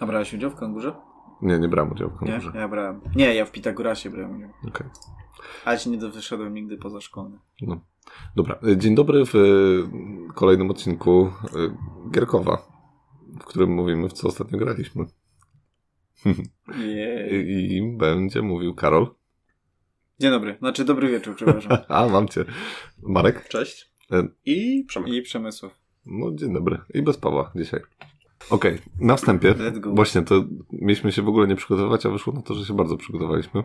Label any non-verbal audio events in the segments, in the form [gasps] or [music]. A brałeś udział w kangurze? Nie, nie brałem udziału w Nie, konkursie. ja brałem. Nie, ja w Pitagorasie brałem udział. Okej. Ale się nie wyszedłem nigdy poza szkołę. No. Dobra, e, dzień dobry w e, kolejnym odcinku e, Gierkowa, w którym mówimy, w co ostatnio graliśmy. I, Jej. i będzie mówił Karol. Dzień dobry, znaczy dobry wieczór, przepraszam. A, mam cię. Marek. [laughs] Cześć. E, I Przemek. I Przemysław. No, dzień dobry. I bez Pawła dzisiaj. Okej, na wstępie. Let's go. Właśnie, to mieliśmy się w ogóle nie przygotowywać, a wyszło na to, że się bardzo przygotowaliśmy.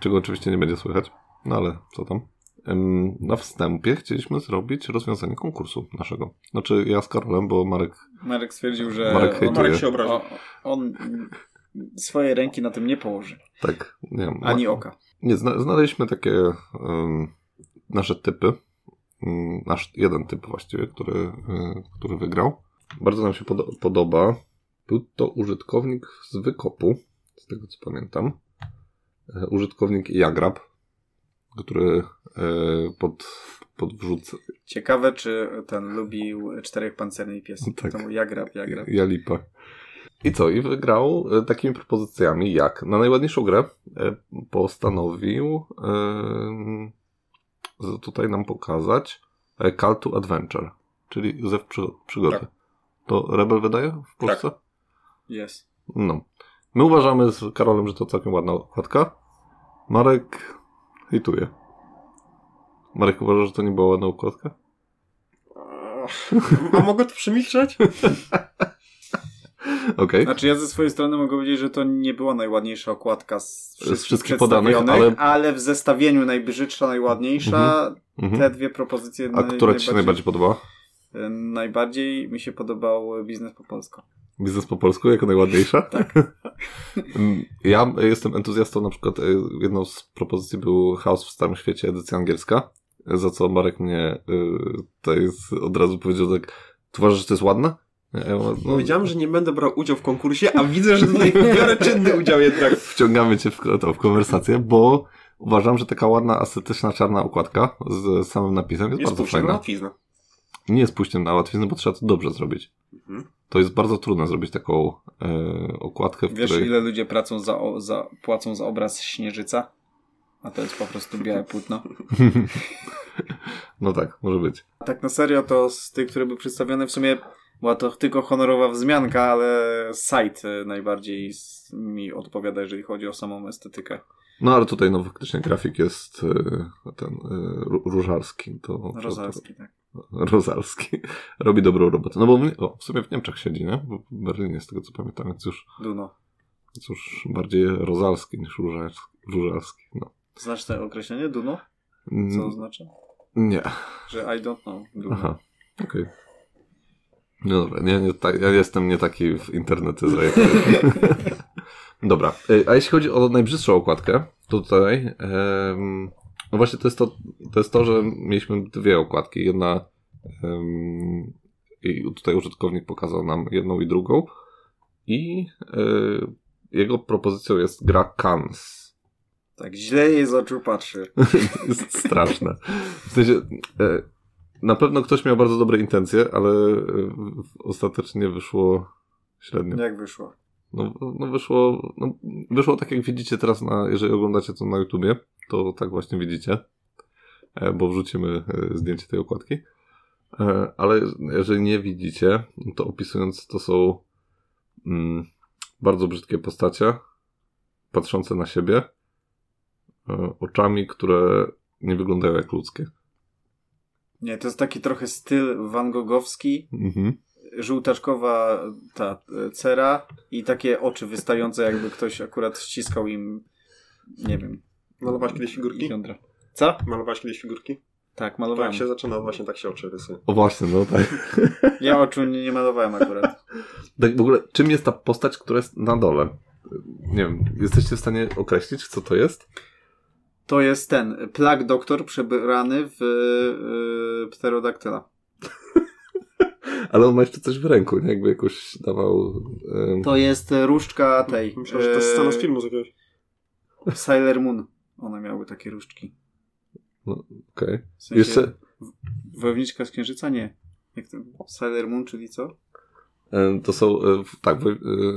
Czego oczywiście nie będzie słychać, no ale co tam. Em, Na wstępie chcieliśmy zrobić rozwiązanie konkursu naszego. Znaczy ja z Karolem, bo Marek Marek stwierdził, że Marek on, hejtuje. Marek się obraził. o, on swoje ręki na tym nie położy. tak, nie wiem. Ani oka. Nie, zna, znaleźliśmy takie em, nasze typy. Em, Nasz jeden typ właściwie, który, y, który wygrał. Bardzo nam się podo- podoba. Był to użytkownik z Wykopu, z tego co pamiętam. E, Użytkownik Jagrab, który e, pod, podwrzuca Ciekawe, czy ten lubił czterech pancernych pies. Tak. To mu jagrab, jagrab. Jalipa. I co? I wygrał e, takimi propozycjami jak na najładniejszą grę e, postanowił em, z- tutaj nam pokazać e, Call to Adventure, czyli Zew przy, Przygody. Tak. To Rebel wydaje w Polsce? Jest. No. My uważamy z Karolem, że to całkiem ładna okładka. Marek hejtuje. Marek uważa, że to nie była ładna okładka? A mogę to przemilczeć? [laughs] Okej. Znaczy ja ze swojej strony mogę powiedzieć, że to nie była najładniejsza okładka z wszystkich, wszystkich przedstawionych, podanych, ale- ale w zestawieniu najbrzydsza, najładniejsza, Mhm. te dwie propozycje A naj- która ci się najbardziej podobała? Y, Najbardziej mi się podobał e, biznes po polsku. Biznes po polsku jako najładniejsza? Tak. [laughs] ja jestem entuzjastą, na przykład e, jedną z propozycji był House w Starym Świecie, edycja angielska, za co Marek mnie to jest od razu powiedział tak, ty uważasz, że to jest ładne? Ja mówię, no, Powiedziałem, że nie będę brał udziału w konkursie, a widzę, że [laughs] tutaj biorę czynny udział jednak. wciągamy cię w, to, w konwersację, bo uważam, że taka ładna, estetyczna, czarna okładka z samym napisem jest, Jest bardzo puszczona fajna. łatwizna. Nie jest pójściem na łatwiznę, bo trzeba to dobrze zrobić. Mhm. To jest bardzo trudne zrobić taką e, okładkę, w Wiesz, której... ile ludzie pracą za, o, za, płacą za obraz śnieżyca? A to jest po prostu białe płótno. no tak, może być. A tak na serio, to z tych, które były przedstawione, w sumie była to tylko honorowa wzmianka, ale site y, najbardziej s- mi odpowiada, jeżeli chodzi o samą estetykę. No ale tutaj no faktycznie grafik jest e, ten e, Ru- różarski. To, [laughs] Rozalski, tak. To, rozalski. Robi dobrą robotę. No bo w, Nie- o, w sumie w Niemczech siedzi, nie? Bo w Berlinie z tego co pamiętam, więc już, Duno. więc już bardziej rozalski niż różarski. różarski no. Znasz to określenie? Duno? Mm, Co oznacza? Nie. Że I don't know. Duno. Aha. Okej. No dobra, nie, nie, tak, ja jestem nie taki w internetyzra jak ty. Dobra, e, a jeśli chodzi o najbrzydszą okładkę, to tutaj, em, no właśnie to jest to, to jest to, że mieliśmy dwie okładki. Jedna, em, i tutaj użytkownik pokazał nam jedną i drugą i e, jego propozycją jest gra Kans. Tak, źle jej z oczu patrzy. [laughs] jest straszne. W sensie, e, na pewno ktoś miał bardzo dobre intencje, ale e, w- ostatecznie wyszło średnio. Jak wyszło? No, no wyszło, no, wyszło tak jak widzicie teraz, na, jeżeli oglądacie to na YouTubie, to tak właśnie widzicie, e, bo wrzucimy e, zdjęcie tej okładki. E, Ale jeżeli nie widzicie, to opisując to są mm, bardzo brzydkie postacie, patrzące na siebie, e, oczami, które nie wyglądają jak ludzkie. Nie, to jest taki trochę styl van Gogowski, Mhm. żółtaczkowa ta e, cera i takie oczy wystające, jakby ktoś akurat ściskał im, nie wiem, Malowałeś kiedyś ich figurki? jądra. Co? Malowałeś kiedyś figurki? Tak, To malowałem. jak się zaczyna, właśnie tak się oczy rysuje. O właśnie, no tak. Ja oczu nie, nie malowałem akurat. tak. W ogóle, czym jest ta postać, która jest na dole? Nie wiem, jesteście w stanie określić, co to jest? To jest ten, plag doktor przebrany w yy, pterodaktyla. Ale on ma jeszcze coś w ręku, nie? Jakby jakoś dawał. em, To jest e, różdżka tej. Myślę, że to jest e, scena z filmu z jakiegoś. Sailor Moon. One miały takie różdżki. Okej. W sensie Jeszcze- w- Wojowniczka z Księżyca? Nie. Jak to? Sailor Moon, czyli co? E, To są, e, w- tak, wo- e,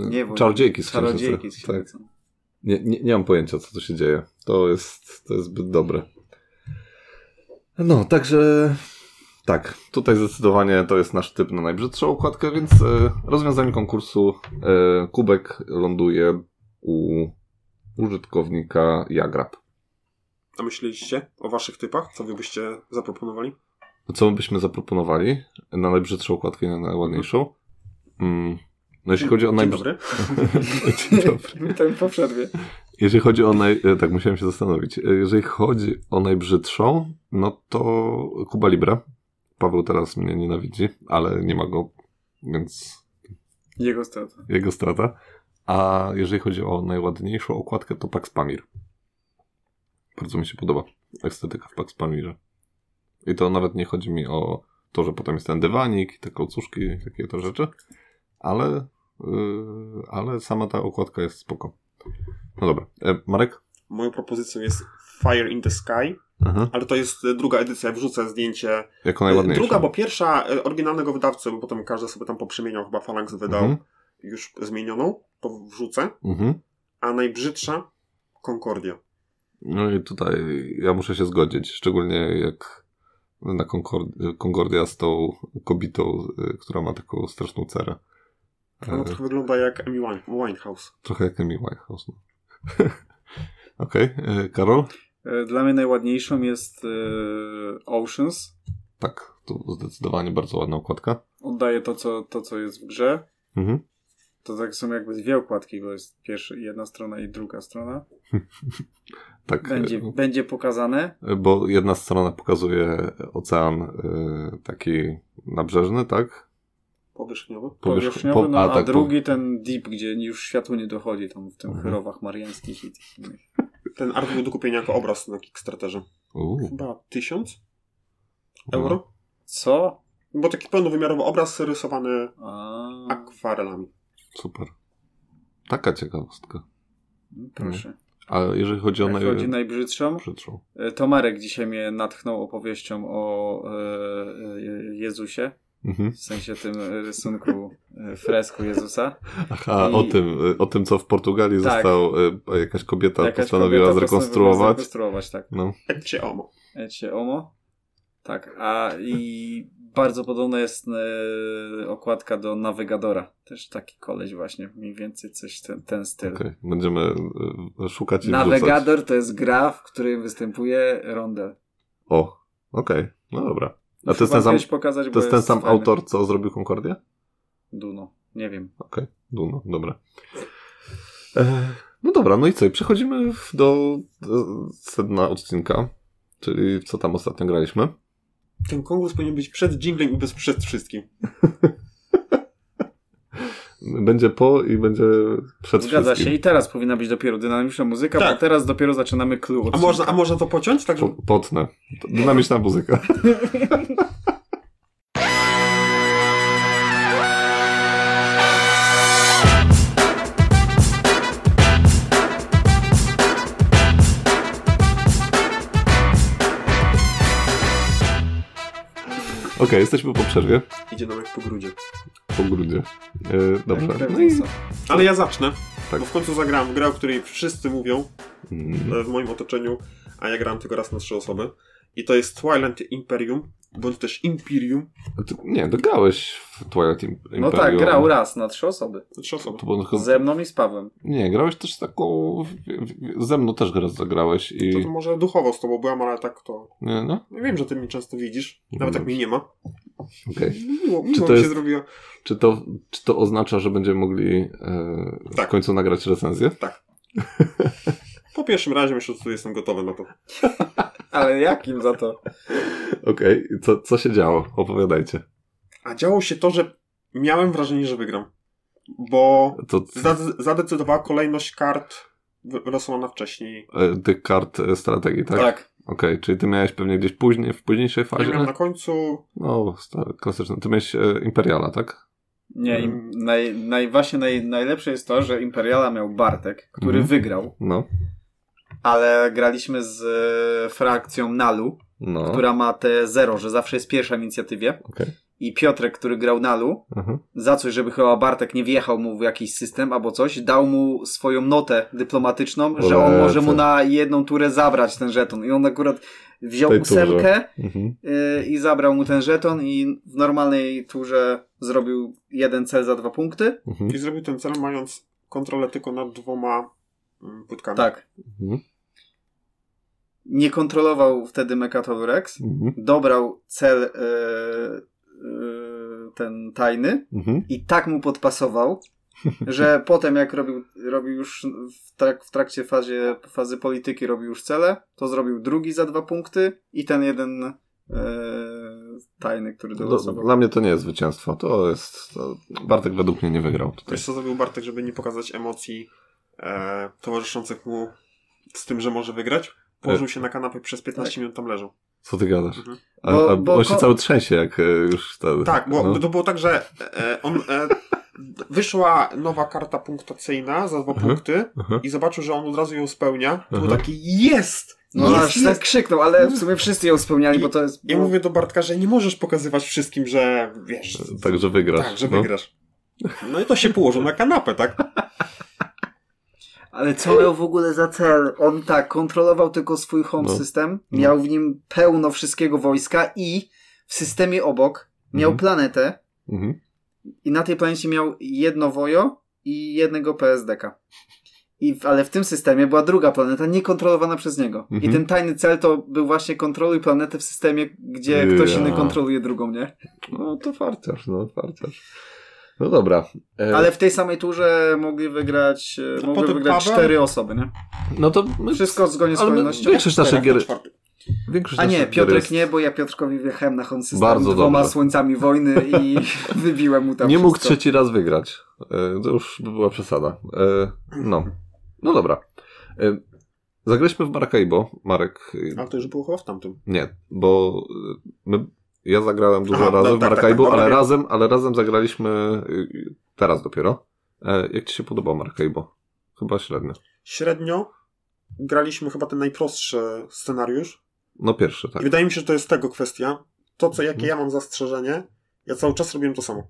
Nie, bo- czarodziejki z Czarodziejki z Księżyca. Tak. [laughs] księżyca. Nie, nie, nie mam pojęcia, co tu się dzieje. To jest, to jest zbyt dobre. No, także tak, tutaj zdecydowanie to jest nasz typ na najbrzydszą układkę, więc e, rozwiązaniem konkursu e, kubek ląduje u użytkownika Jagrab. A myśleliście o waszych typach? Co wy byście zaproponowali? Co byśmy zaproponowali na najbrzydszą układkę i na najładniejszą? Mm. No, jeśli chodzi o Dzień najbrzydszą. [laughs] [laughs] dobry. Witam po przerwie. Jeżeli chodzi o naj... e, Tak, musiałem się zastanowić. E, Jeżeli chodzi o najbrzydszą, no to Kuba Libre. Paweł teraz mnie nienawidzi, ale nie ma go, więc Jego strata. jego strata. A jeżeli chodzi o najładniejszą okładkę, to Pax Pamir. Bardzo mi się podoba estetyka w Pax Pamirze. I to nawet nie chodzi mi o to, że potem jest ten dywanik, i te kocuszki, i takie to rzeczy, ale, yy, ale sama ta okładka jest spoko. No dobra. E, Marek? Moją propozycją jest Fire in the Sky, Aha. ale to jest e, druga edycja. Wrzucę zdjęcie e, Jako najładniejsza. Druga, bo pierwsza e, oryginalnego wydawcy, bo potem każdy sobie tam poprzemieniał, chyba Phalanx wydał Mhm. już zmienioną, to wrzucę. Mhm. A najbrzydsza Concordia. No i tutaj ja muszę się zgodzić, szczególnie jak na Concord- Concordia z tą kobietą, y, która ma taką straszną cerę. Ona E, trochę wygląda jak Amy Wine- Winehouse. Trochę jak Amy Winehouse. No. [laughs] Okej, e, Karol? E, Dla mnie najładniejszą jest e, Oceans. Tak, to zdecydowanie bardzo ładna okładka. Oddaje to co, to, co jest w grze. Mhm. To tak są jakby dwie okładki, bo jest pierwsza, jedna strona i druga strona. Tak, Będzie, e, będzie pokazane. bo jedna strona pokazuje ocean e, taki nabrzeżny, tak? Powierzchniowy. Powierzch- Powierzchniowy, po- no, a, tak, po- drugi ten deep, gdzie już światło nie dochodzi, tam w tym Mhm. chyrowach mariańskich i tych innych. Ten art był do kupienia jako obraz na Kickstarterze. Uuu, Chyba 1000 no. euro? Co? Bo taki pełnowymiarowy obraz rysowany Mhm. A, akwarelami. Super. Taka ciekawostka. no, proszę. A jeżeli chodzi o Jak chodzi najbrzydszą? najbrzydszą, e, to Marek dzisiaj mnie natchnął opowieścią o e, e, Jezusie, Mhm. w sensie tym rysunku e, fresku Jezusa. Aha, I- o, tym, y, o tym, co w Portugalii Tak. został, y, jakaś kobieta Jakaś postanowiła kobieta postanowiła zrekonstruować. Zrekonstruować, tak. No. Ecie omo. Ecie Omo. Tak, a i bardzo podobna jest e, okładka do Nawigadora. Też taki koleś właśnie, mniej więcej coś ten, ten styl. Okej, Będziemy y, szukać i wrzucać. Nawigador to jest gra, w której występuje Rondel. O, okej, no dobra. A to Muszę jest ten wam sam, kiedyś pokazać, bo to jest ten sam fajny. autor, co zrobił Concordię? Duno, nie wiem. Okej, Duno, dobra. E, no dobra, no i co? I Przechodzimy w- do, do sedna odcinka, czyli co tam ostatnio graliśmy. Ten konkurs powinien być przed dżinglem i bez przed wszystkim. Będzie po i będzie przed Zgadza się wszystkim. i teraz powinna być dopiero dynamiczna muzyka, Tak. bo teraz dopiero zaczynamy clue. A można, a można to pociąć? Tak, żeby... Po, potnę. To Dynamiczna muzyka. Okej, jesteśmy po przerwie, Idzie nam jak po grudzie. po grudzie. E, dobrze. No i, Jezusa. Ale ja zacznę, Tak. bo w końcu zagram w grę, o której wszyscy mówią, Mm, e, w moim otoczeniu, a ja gram tylko raz na trzy osoby. I to jest Twilight Imperium, bądź też Imperium. a ty- nie, dograłeś w Twilight Im- Imperium. No tak, grał raz na trzy osoby. Na Trzy osoby. To było tylko Ze mną i z Pawłem. Nie, grałeś też taką. w- w- Ze mną też raz zagrałeś i. To, to może duchowo z tobą byłam, ale tak to... Nie, no? Ja wiem, że ty mnie często widzisz, Nie nawet wiem. jak mnie nie [laughs] ma. Okej. Czy to Miło, miło mi się jest- zrobiło. Czy, to, czy to oznacza, że będziemy mogli e, Tak. w końcu nagrać [laughs] recenzję? Po pierwszym razie myślę, że tu jestem gotowy na to. Ale jakim za to? Okej, i co, co się działo? Opowiadajcie. A działo się to, że miałem wrażenie, że wygram. Bo To, zade- zadecydowała kolejność kart wy- losowana wcześniej. e, tych kart e, strategii, tak? Tak. Okej, czyli ty miałeś pewnie gdzieś później, w późniejszej Ja fazie. miałem na końcu No, stary, klasyczny. Ty miałeś e, Imperiala, tak? Nie, im, naj, naj, właśnie naj, najlepsze jest to, że Imperiala miał Bartek, który Mhm. wygrał, No. ale graliśmy z e, frakcją Nalu, No. która ma te zero, że zawsze jest pierwsza w inicjatywie. Okej. i Piotrek, który grał Nalu, Mhm. za coś, żeby chyba Bartek nie wjechał mu w jakiś system albo coś, dał mu swoją notę dyplomatyczną, że on Lecę. może mu na jedną turę zabrać ten żeton. I on akurat wziął Tej turze. ósemkę Mhm. y, i zabrał mu ten żeton i w normalnej turze zrobił jeden cel za dwa punkty. Mhm. I zrobił ten cel mając kontrolę tylko nad dwoma mm, płytkami. Tak. Mhm. Nie kontrolował wtedy Mekatolu Rex. Mhm. Dobrał cel y, y, ten tajny. Mhm. i tak mu podpasował, [laughs] że potem jak robił, robił już w, trak, w trakcie fazie, fazy polityki robił już cele, to zrobił drugi za dwa punkty i ten jeden e, tajny, który Do, dolosował. dla mnie to nie jest zwycięstwo. To jest. To Bartek według mnie nie wygrał tutaj. Wiesz co zrobił Bartek, żeby nie pokazać emocji e, towarzyszących mu z tym, że może wygrać? Położył się na kanapie przez 15 minut tam leżał. Co ty gadasz? Mhm. A, Bo- a bo on się ko- cały trzęsie, jak e, już ten. Tak, bo no. to było tak, że e, on, e, wyszła nowa karta punktacyjna za dwa Mhm. punkty Mhm. i zobaczył, że on od razu ją spełnia. To był Mhm. taki jest! No jest, aż tak no. krzyknął, ale w sumie wszyscy ją spełniali, bo to jest... Ja mówię do Bartka, że nie możesz pokazywać wszystkim, że wiesz, Tak, że wygrasz. tak, że no. wygrasz. No i to się położył na kanapę, tak? Ale co miał w ogóle za cel? On tak, kontrolował tylko swój home No. system, No. miał w nim pełno wszystkiego wojska i w systemie obok miał Mhm. planetę Mhm. I na tej planecie miał jedno wojo i jednego PSDK. I, w- ale w tym systemie była druga planeta niekontrolowana przez niego. Mhm. I ten tajny cel to był właśnie kontroluj planetę w systemie, gdzie ktoś Ja. inny kontroluje drugą, nie? No to farciarz, no farciarz. No dobra. E, Ale w tej samej turze mogli wygrać, e, No, mogły potem wygrać Paweł- no, cztery osoby, nie? No to my, Wszystko zgodnie z ale my, kolejnością. większość naszych Teraz gier. na czwarty. Większość A nie, tak naszych gier Piotrek jest- nie, bo ja Piotrkowi wjechałem na home system Bardzo dwoma dobrze. słońcami wojny i [laughs] wybiłem mu tam Nie mógł wszystko. trzeci raz wygrać. E, To już by była przesada. E, No. No dobra. E, Zagraliśmy w Maracaibo, Marek. e, Ale to już było chyba w tamtym. Nie, bo e, my, ja zagrałem dużo Aha, razy no w tak, tak, Maracaibo, tak, ale, dobra. razem, ale razem zagraliśmy e, teraz dopiero. E, Jak ci się podobał Maracaibo? Chyba średnio. Średnio graliśmy chyba ten najprostszy scenariusz. No pierwszy, I tak. Mhm. wydaje mi się, że to jest tego kwestia. To, co, jakie ja mam zastrzeżenie, ja cały czas robiłem to samo.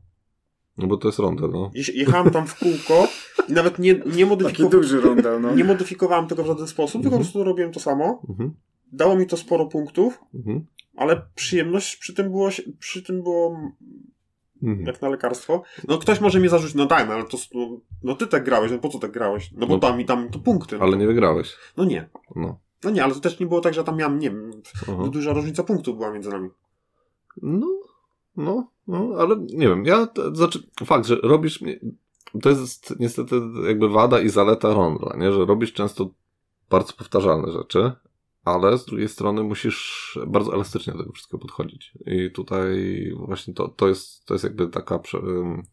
No bo to jest ronda, no. Je- Jechałem tam w kółko i nawet nie, nie, Taki modyfikowa- duży rondel, [laughs] no. nie modyfikowałem tego w żaden sposób, tylko po Mhm. prostu robiłem to samo. Mhm, Dało mi to sporo punktów, mhm, ale przyjemność przy tym było, się- przy tym było mhm. jak na lekarstwo. No ktoś może mi zarzucić, no tak, no, ale to, s- no, no ty tak grałeś, no po co tak grałeś? No bo No. tam i tam to punkty. Ale nie wygrałeś. No nie. No. No nie, ale to też nie było tak, że ja tam miałem, nie wiem, Aha. duża różnica punktów była między nami. No, no, no, ale nie wiem. Ja, to znaczy, fakt, że robisz. nie- To jest niestety jakby wada i zaleta ronda, nie? Że robisz często bardzo powtarzalne rzeczy, ale z drugiej strony musisz bardzo elastycznie do tego wszystkiego podchodzić. I tutaj właśnie to, to, jest, to jest jakby taka prze, ym,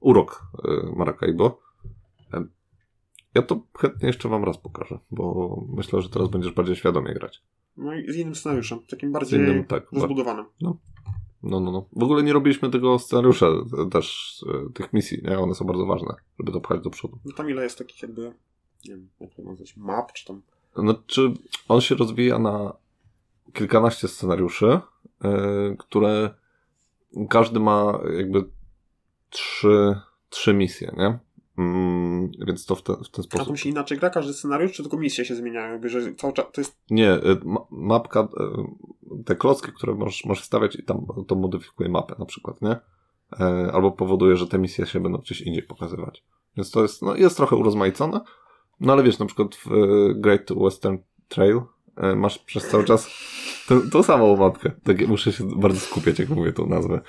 urok y, Maracaibo. Em, Ja to chętnie jeszcze wam raz pokażę, bo myślę, że teraz będziesz bardziej świadomie grać. No i z innym scenariuszem, takim Z bardziej innym, tak, ba- rozbudowanym. no, no, no. W ogóle nie robiliśmy tego scenariusza e, też, e, tych misji, nie? One są bardzo ważne, żeby to pchać do przodu. No tam ile jest takich jakby, nie wiem, jak to nazwać, map, czy tam... Znaczy, on się rozwija na kilkanaście scenariuszy, e, które każdy ma jakby trzy, trzy misje, nie? Mm, więc to w, te, w ten A sposób. tam się inaczej gra każdy scenariusz, czy tylko misje się zmieniają, jakby, że cały czas, to jest... Nie, e, ma- mapka, e, te klocki, które możesz, możesz stawiać i tam to modyfikuje mapę na przykład, nie? E, Albo powoduje, że te misje się będą gdzieś indziej pokazywać. Więc to jest, no, jest trochę urozmaicone, no ale wiesz, na przykład w e, Great Western Trail e, masz przez cały czas tę- tą samą mapkę. Tak, ja muszę się bardzo skupiać, jak mówię tą nazwę.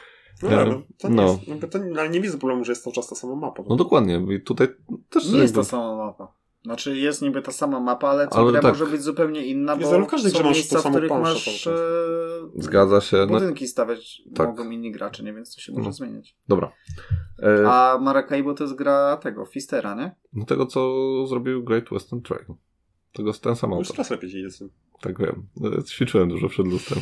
No, Ja- ale to nie no. jest, jakby to, ale nie widzę problemu, że jest cały czas ta sama mapa. No dokładnie, i tutaj też Nie jest jakby- ta sama mapa. Znaczy jest niby ta sama mapa, ale co Ale gra tak. może być zupełnie inna, Jest, bo ale w każdej są grze masz miejsca, to w samo których plansze masz cały czas. e, Zgadza się. No, budynki stawiać Tak. mogą inni gracze, nie? Więc to się No. może zmieniać. dobra. E, A Maracaibo to jest gra tego, Fistera, nie? no Tego, co zrobił Great Western Trail. Tego z ten sam Już autor. teraz lepiej się idzie z tym. Tak wiem. E, Ćwiczyłem dużo przed [laughs] lustrem.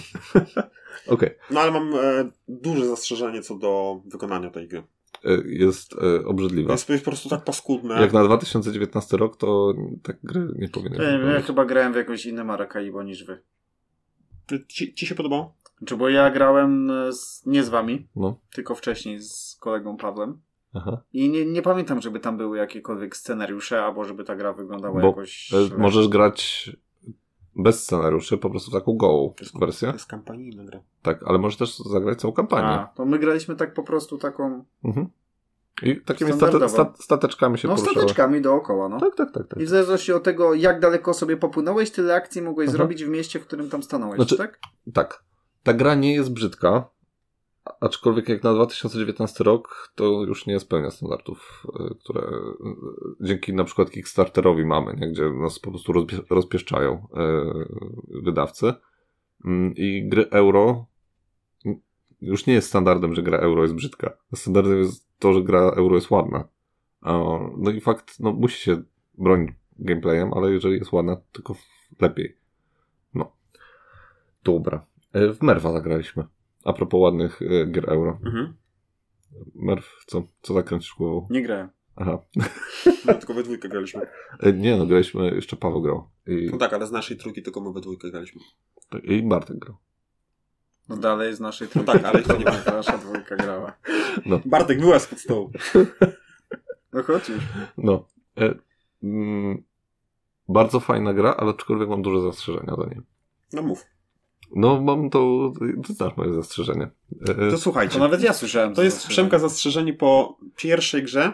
Okej. No ale mam e, duże zastrzeżenie co do wykonania tej gry. E, Jest e, obrzydliwa. Jest, jest po prostu tak paskudne. Jak na 2019 rok, to tak gry nie Ja, nie powinny wiem, E, ja być. chyba grałem w jakieś inne Maracaibo niż wy. Ci, ci się podobało? Znaczy, bo ja grałem e, z, nie z wami, No. tylko wcześniej z kolegą Pawłem. Aha. E, I nie, nie pamiętam, żeby tam były jakiekolwiek scenariusze, albo żeby ta gra wyglądała Bo, jakoś. E, Możesz grać bez scenariuszy, po prostu taką gołą To wersję. jest kampanijna gra. Tak, ale możesz też zagrać całą kampanię. A, to my graliśmy tak po prostu taką. Mhm. I takimi Standardowo. state, sta, stateczkami się No, poruszało. stateczkami dookoła, no. Tak, tak, tak. tak. I w zależności od tego, jak daleko sobie popłynąłeś, tyle akcji mogłeś Mhm. zrobić w mieście, w którym tam stanąłeś, Znaczy- tak? Tak. Ta gra nie jest brzydka, a- aczkolwiek jak na 2019 rok to już nie spełnia standardów, y, które y, dzięki na przykład Kickstarterowi mamy, nie? gdzie nas po prostu rozpie- rozpieszczają y, wydawcy. Mm, I gry euro mm, już nie jest standardem, że gra euro jest brzydka. Standardem jest to, że gra euro jest ładna. A, No i fakt, no musi się bronić gameplayem, ale jeżeli jest ładna, to tylko lepiej. No. Dobra. E, W Merwa zagraliśmy. A propos ładnych e, gier euro. Mhm. Merw, co, co zakręcisz głową? Nie grałem. Aha. No, tylko we dwójkę graliśmy. E, Nie no, graliśmy, jeszcze Paweł grał. I, No tak, ale z naszej trójki tylko my we dwójkę graliśmy. i Bartek grał. No dalej z naszej No trójki. tak, [laughs] ale to nie ma. Nasza dwójka grała. Bartek była spod stołu. No chodź już. No. E, mm, bardzo fajna gra, ale aczkolwiek mam duże zastrzeżenia do niej. No mów. No mam to, ty znasz moje zastrzeżenie. E, To słuchajcie. To nawet ja słyszałem. To co jest znaczy. Przemka zastrzeżenie po pierwszej grze,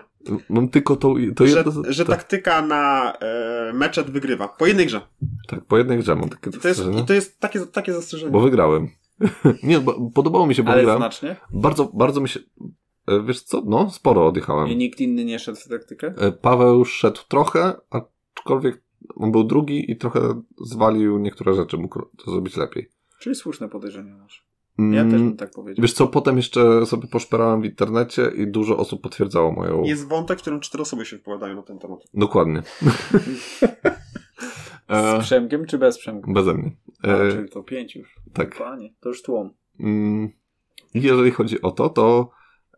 Mam tylko to, to że, jedno... że tak, taktyka na e, meczet wygrywa. Po jednej grze. tak, po jednej grze mam takie I to jest, zastrzeżenie. i to jest takie, takie zastrzeżenie. Bo wygrałem. [laughs] nie, bo, podobało mi się, bo Ale grałem. znacznie. Bardzo, bardzo mi się... e, Wiesz co? No, sporo odjechałem. I nikt inny nie szedł w taktykę? E, Paweł szedł trochę, aczkolwiek on był drugi i trochę zwalił niektóre rzeczy, mógł to zrobić lepiej. Czyli słuszne podejrzenie masz. Mm, Ja też bym tak powiedział. Wiesz co, potem jeszcze sobie poszperałem w internecie i dużo osób potwierdzało moją... Jest wątek, w którym cztery osoby się wypowiadają na ten temat. Dokładnie. e, Z Przemkiem czy bez Przemka? beze mnie. A, E, czyli to pięć już. tak. Panie, to już tłum. Mm, I jeżeli chodzi o to, to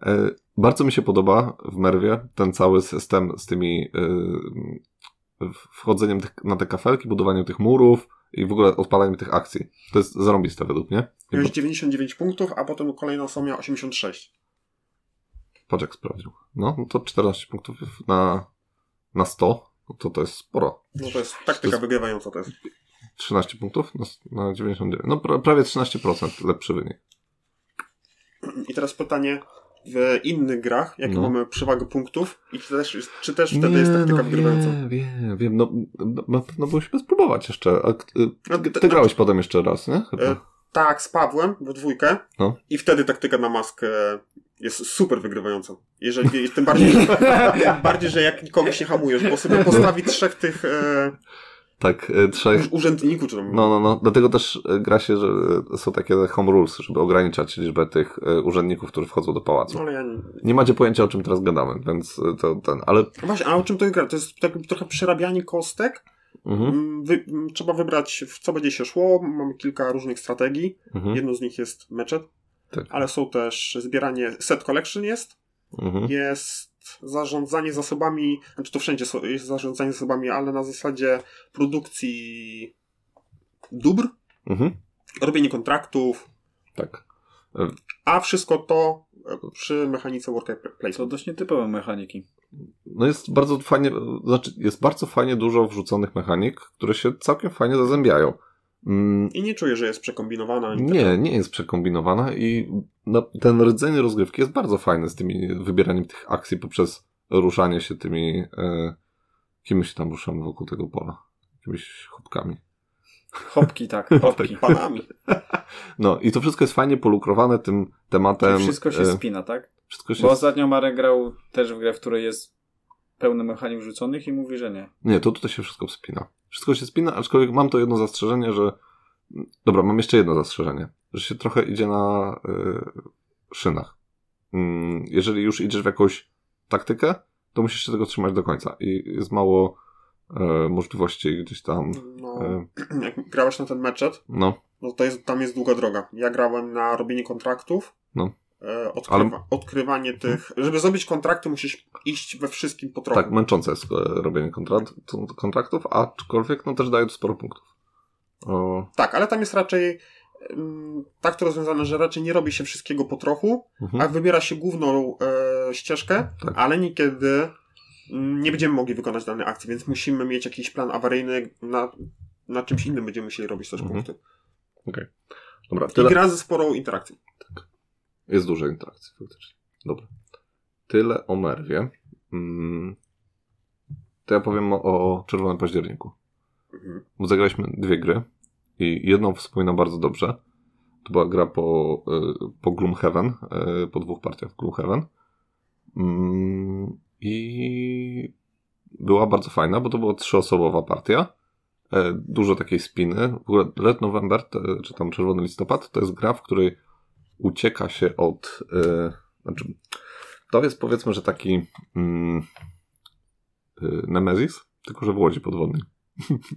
e, bardzo mi się podoba w Merwie ten cały system z tymi e, wchodzeniem tych, na te kafelki, budowaniem tych murów i w ogóle odpalaniem tych akcji. To jest zarąbiste według mnie. I Miałeś 99 punktów, a potem kolejna osoba miała 86. Patrz jak sprawdził. No, no to 14 punktów na, na 100, no to to jest sporo. No to jest To taktyka jest- wygrywająca to jest. 13 punktów na, s- na 99. No pra, prawie 13% lepszy wynik. I teraz pytanie w innych grach, jakie No. mamy przewagę punktów i czy też, jest- czy też wtedy jest tak taktyka no, wygrywająca. wiem, wiem, wiem. No, no, na pewno musimy spróbować jeszcze. A, k- y, No, ty, d- ty grałeś potem jeszcze raz, nie? Chyba. E, Tak, z Pawłem we dwójkę No. i wtedy taktyka na maskę jest super wygrywająca. Jeżeli, tym bardziej, tym bardziej, że jak kogoś nie hamujesz, bo sobie postawi trzech tych e, Tak, y, trzech. uż- urzędników, czy tam, No, no, no. Dlatego też y, gra się, że y, są takie home rules, żeby ograniczać liczbę tych y, urzędników, którzy wchodzą do No, pałacu. ale ja nie... Nie macie pojęcia, o czym teraz gadamy, więc y, to ten, ale No Właśnie, a o czym to gra? To jest tak, trochę przerabianie kostek. mhm, Mm, Wy, m, trzeba wybrać, w co będzie się szło. Mamy kilka różnych strategii. mhm, Jedną z nich jest meczet, Tak. ale są też zbieranie, set collection jest, mhm. jest zarządzanie zasobami, znaczy to wszędzie so- jest zarządzanie zasobami, ale na zasadzie produkcji dóbr, mhm. robienie kontraktów, Tak. a wszystko to e, przy mechanice workplace. To dość nietypowe mechaniki. No jest bardzo fajnie, znaczy jest bardzo fajnie dużo wrzuconych mechanik, które się całkiem fajnie zazębiają. Mm, I nie czuję, że jest przekombinowana. ani tak. Nie, nie jest przekombinowana i na, ten rdzeń rozgrywki jest bardzo fajny z tymi wybieraniem tych akcji poprzez ruszanie się tymi. E, kim się tam ruszamy wokół tego pola? Jakimiś chłopkami. Hopki, [laughs] tak, hopki. Panami. No i to wszystko jest fajnie polukrowane tym tematem. Czyli wszystko się e, spina, tak? wszystko się Bo sp- ostatnio Marek grał też w grę, w której jest pełno mechanik wrzuconych i mówi, że nie. Nie, to tutaj się wszystko spina. Wszystko się spina, aczkolwiek mam to jedno zastrzeżenie, że. Dobra, mam jeszcze jedno zastrzeżenie, że się trochę idzie na y, szynach. Mm, jeżeli już idziesz w jakąś taktykę, to musisz się tego trzymać do końca i jest mało e, możliwości gdzieś tam. No, E, jak grałeś na ten meczet, no, no to jest, tam jest długa droga. Ja grałem na robienie kontraktów. No. e, Odkrywa, Odkrywanie tych. Żeby zrobić kontrakty, musisz iść we wszystkim po trochu. tak, męczące jest e, robienie kontrakt, kontraktów, aczkolwiek no też daje to sporo punktów. O, Tak, ale tam jest raczej mm, tak to rozwiązane, że raczej nie robi się wszystkiego po trochu, Mhm. a wybiera się główną e, ścieżkę, Tak. ale niekiedy mm, nie będziemy mogli wykonać danej akcji, więc musimy mieć jakiś plan awaryjny, na, na czymś innym będziemy musieli robić też Mhm. punkty. Dobra, I tyle. gra ze sporą interakcją. Jest dużo interakcji faktycznie. Dobra. Tyle o Merwie. Mm. To ja powiem o, o Czerwonym Październiku. Mhm. Bo Zagraliśmy dwie gry i jedną wspominam bardzo dobrze. To była gra po, y, po Gloomhaven, y, po dwóch partiach w Gloomhaven. Mm, I była bardzo fajna, bo to była trzyosobowa partia. E, Dużo takiej spiny. W ogóle Red November, te- czy tam Czerwony Listopad, to jest gra, w której ucieka się od. e, Znaczy, to jest powiedzmy, że taki mm, y, Nemesis, tylko że w łodzi podwodnej.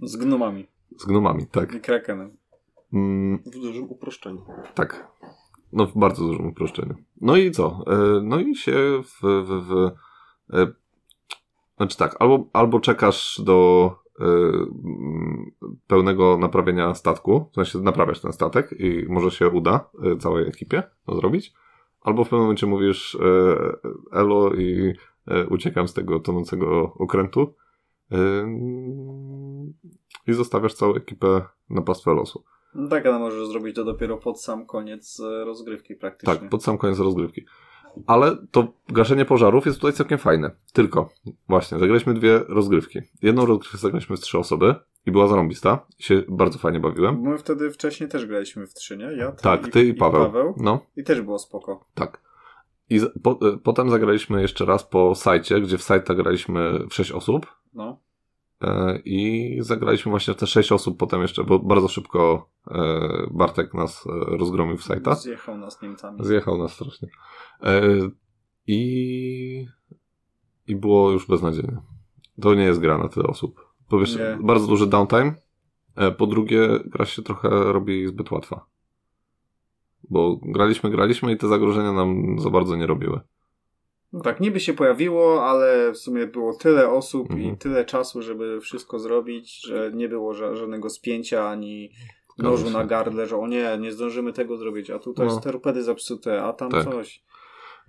Z gnomami Z gnomami, tak. i krakenem. Mm, W dużym uproszczeniu. tak. No w bardzo dużym uproszczeniu. No i co? E, No i się w... w, w e, znaczy tak, albo, albo czekasz do e, mm, pełnego naprawienia statku, w sensie naprawiasz ten statek i może się uda e, całej ekipie to zrobić, albo w pewnym momencie mówisz e, elo i e, uciekam z tego tonącego okrętu e, i zostawiasz całą ekipę na pastwę losu. No tak, ale możesz zrobić to dopiero pod sam koniec e, rozgrywki praktycznie. Tak, pod sam koniec rozgrywki. Ale to gaszenie pożarów jest tutaj całkiem fajne. Tylko, właśnie, zagraliśmy dwie rozgrywki. Jedną rozgrywkę zagraliśmy z trzy osoby i była zarąbista. Się bardzo fajnie bawiłem. My wtedy wcześniej też graliśmy w trzy, nie? Ja, ty, Tak, ty i Paweł. I, Paweł. No, I też było spoko. tak. I z, po, y, potem zagraliśmy jeszcze raz po sajcie, gdzie w sajta graliśmy w sześć osób. No. E, I zagraliśmy właśnie te sześć osób potem jeszcze, bo bardzo szybko e, Bartek nas e, rozgromił w sajta. Zjechał nas Niemcami. Zjechał nas strasznie. E, I, I było już beznadziejnie. To nie jest gra na tyle osób. Po pierwsze, Nie. bardzo duży downtime. E, po drugie, gra się trochę robi zbyt łatwa. Bo graliśmy, graliśmy i te zagrożenia nam za bardzo nie robiły. No tak, niby się pojawiło, ale w sumie było tyle osób Mhm. i tyle czasu, żeby wszystko zrobić, że nie było ża- żadnego spięcia ani Zgadza nożu się. na gardle, że o nie, nie zdążymy tego zrobić, a tutaj No. torpedy zepsute, a tam Tak. coś.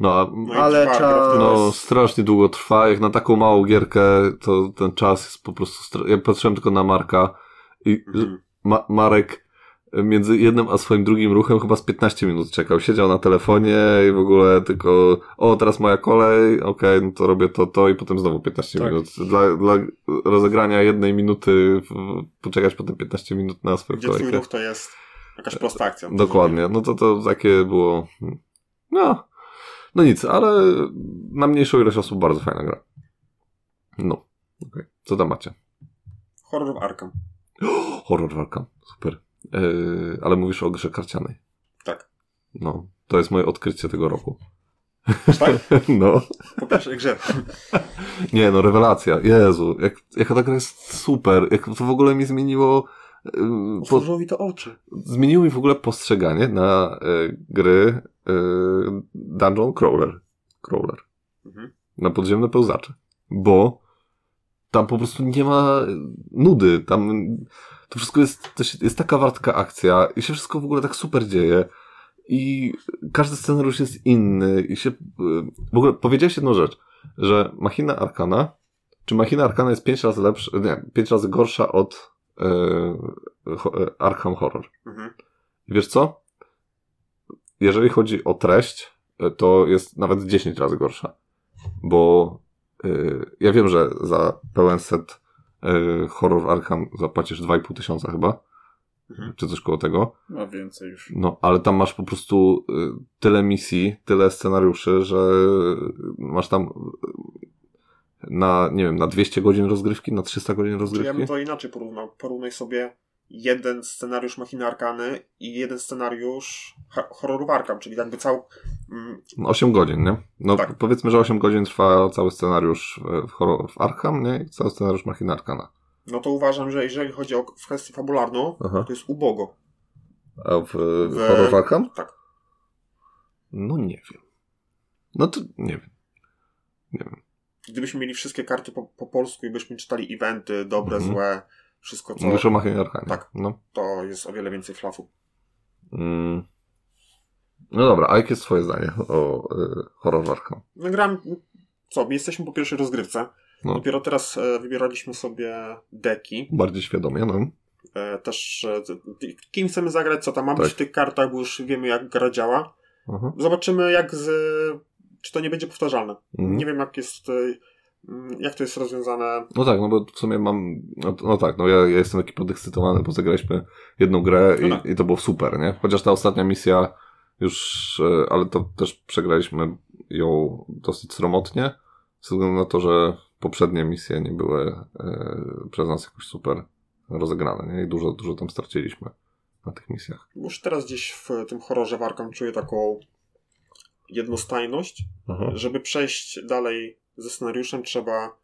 No, a, No i Ale trwa gra czas- wtedy. no strasznie długo trwa. Jak na taką małą gierkę, to ten czas jest po prostu... Stra... Ja patrzyłem tylko na Marka i Mhm. Ma- Marek między jednym a swoim drugim ruchem chyba z 15 minut czekał. Siedział na telefonie i w ogóle tylko o, teraz moja kolej, okej, no to robię to, to i potem znowu 15 Tak. minut. Dla, dla rozegrania jednej minuty w- poczekać potem 15 minut na swoją Gdzie twój kolejkę. ruch to jest jakaś prosta akcja. Dokładnie, no to to takie było... No, no nic, ale na mniejszą ilość osób bardzo fajna gra. No, okej. Co tam macie? Horror w Arkham. [gasps] Horror Warka, super. Yy, ale mówisz o grze karcianej. Tak. No, to jest moje odkrycie tego roku. Tak? [laughs] No. Po pierwszej grze. Nie, no rewelacja. Jezu, jak, jaka ta gra jest super. Jak to w ogóle mi zmieniło... ym, Po, Otworzyło mi to oczy. zmieniło mi w ogóle postrzeganie na y, gry y, Dungeon Crawler. Crawler. Mhm. Na podziemne pełzacze. Bo tam po prostu nie ma nudy. Tam to wszystko jest, to się, jest taka wartka akcja i się wszystko w ogóle tak super dzieje. I każdy scenariusz jest inny i się... y, W ogóle powiedziałeś jedną rzecz, że Machina Arkana, czy Machina Arkana jest pięć razy lepsza, nie, pięć razy gorsza od y, ho- y, Arkham Horror. Mhm. I Wiesz co? Jeżeli chodzi o treść, y, to jest nawet 10 razy gorsza. Bo y, ja wiem, że za pełen set y, Horror Arkham zapłacisz 2,5 tysiąca chyba, Mhm. czy coś koło tego. No więcej już. No, ale tam masz po prostu y, tyle misji, tyle scenariuszy, że y, masz tam y, na, nie wiem, na 200 godzin rozgrywki, na 300 godzin Czy ja rozgrywki. bym to inaczej porównał. Porównaj sobie jeden scenariusz Machiny Arkany i jeden scenariusz ha- horroru w Arkham, czyli jakby cał... Mm, 8 godzin, nie? No Tak. powiedzmy, że 8 godzin trwa cały scenariusz e, w, horror, w Arkham, nie? I cały scenariusz Machina Arkana. No to uważam, że jeżeli chodzi o kwestię fabularną, Aha. to jest ubogo. A w, e, w... W- horror w Arkham? Tak. No nie wiem. No to nie wiem. Gdybyśmy mieli wszystkie karty po, po polsku i byśmy czytali eventy, dobre, Mhm. złe, wszystko co, Mówisz o Machinie Arkanie. Tak. No. to jest o wiele więcej flafu. Mm. No dobra, a jakie jest twoje zdanie o y, horrorach? No gram, co, my jesteśmy po pierwszej rozgrywce. No. Dopiero teraz e, wybieraliśmy sobie deki. Bardziej świadomie, no. E, też e, z- kim chcemy zagrać, co tam ma Tak. być w tych kartach, bo już wiemy jak gra działa. Aha. Zobaczymy jak z... czy to nie będzie powtarzalne. Mhm. Nie wiem jak jest... e, mm, jak to jest rozwiązane. No tak, no bo w sumie mam. No, to- no tak, no ja, ja jestem taki podekscytowany, bo zagraliśmy jedną grę i, No tak. i to było super, nie? Chociaż ta ostatnia misja już, e, ale to też przegraliśmy ją dosyć sromotnie, ze względu na to, że poprzednie misje nie były e, przez nas jakoś super rozegrane, nie? I dużo, dużo tam straciliśmy na tych misjach. Już teraz gdzieś w tym horrorze Warkam czuję taką jednostajność. Żeby przejść dalej ze scenariuszem trzeba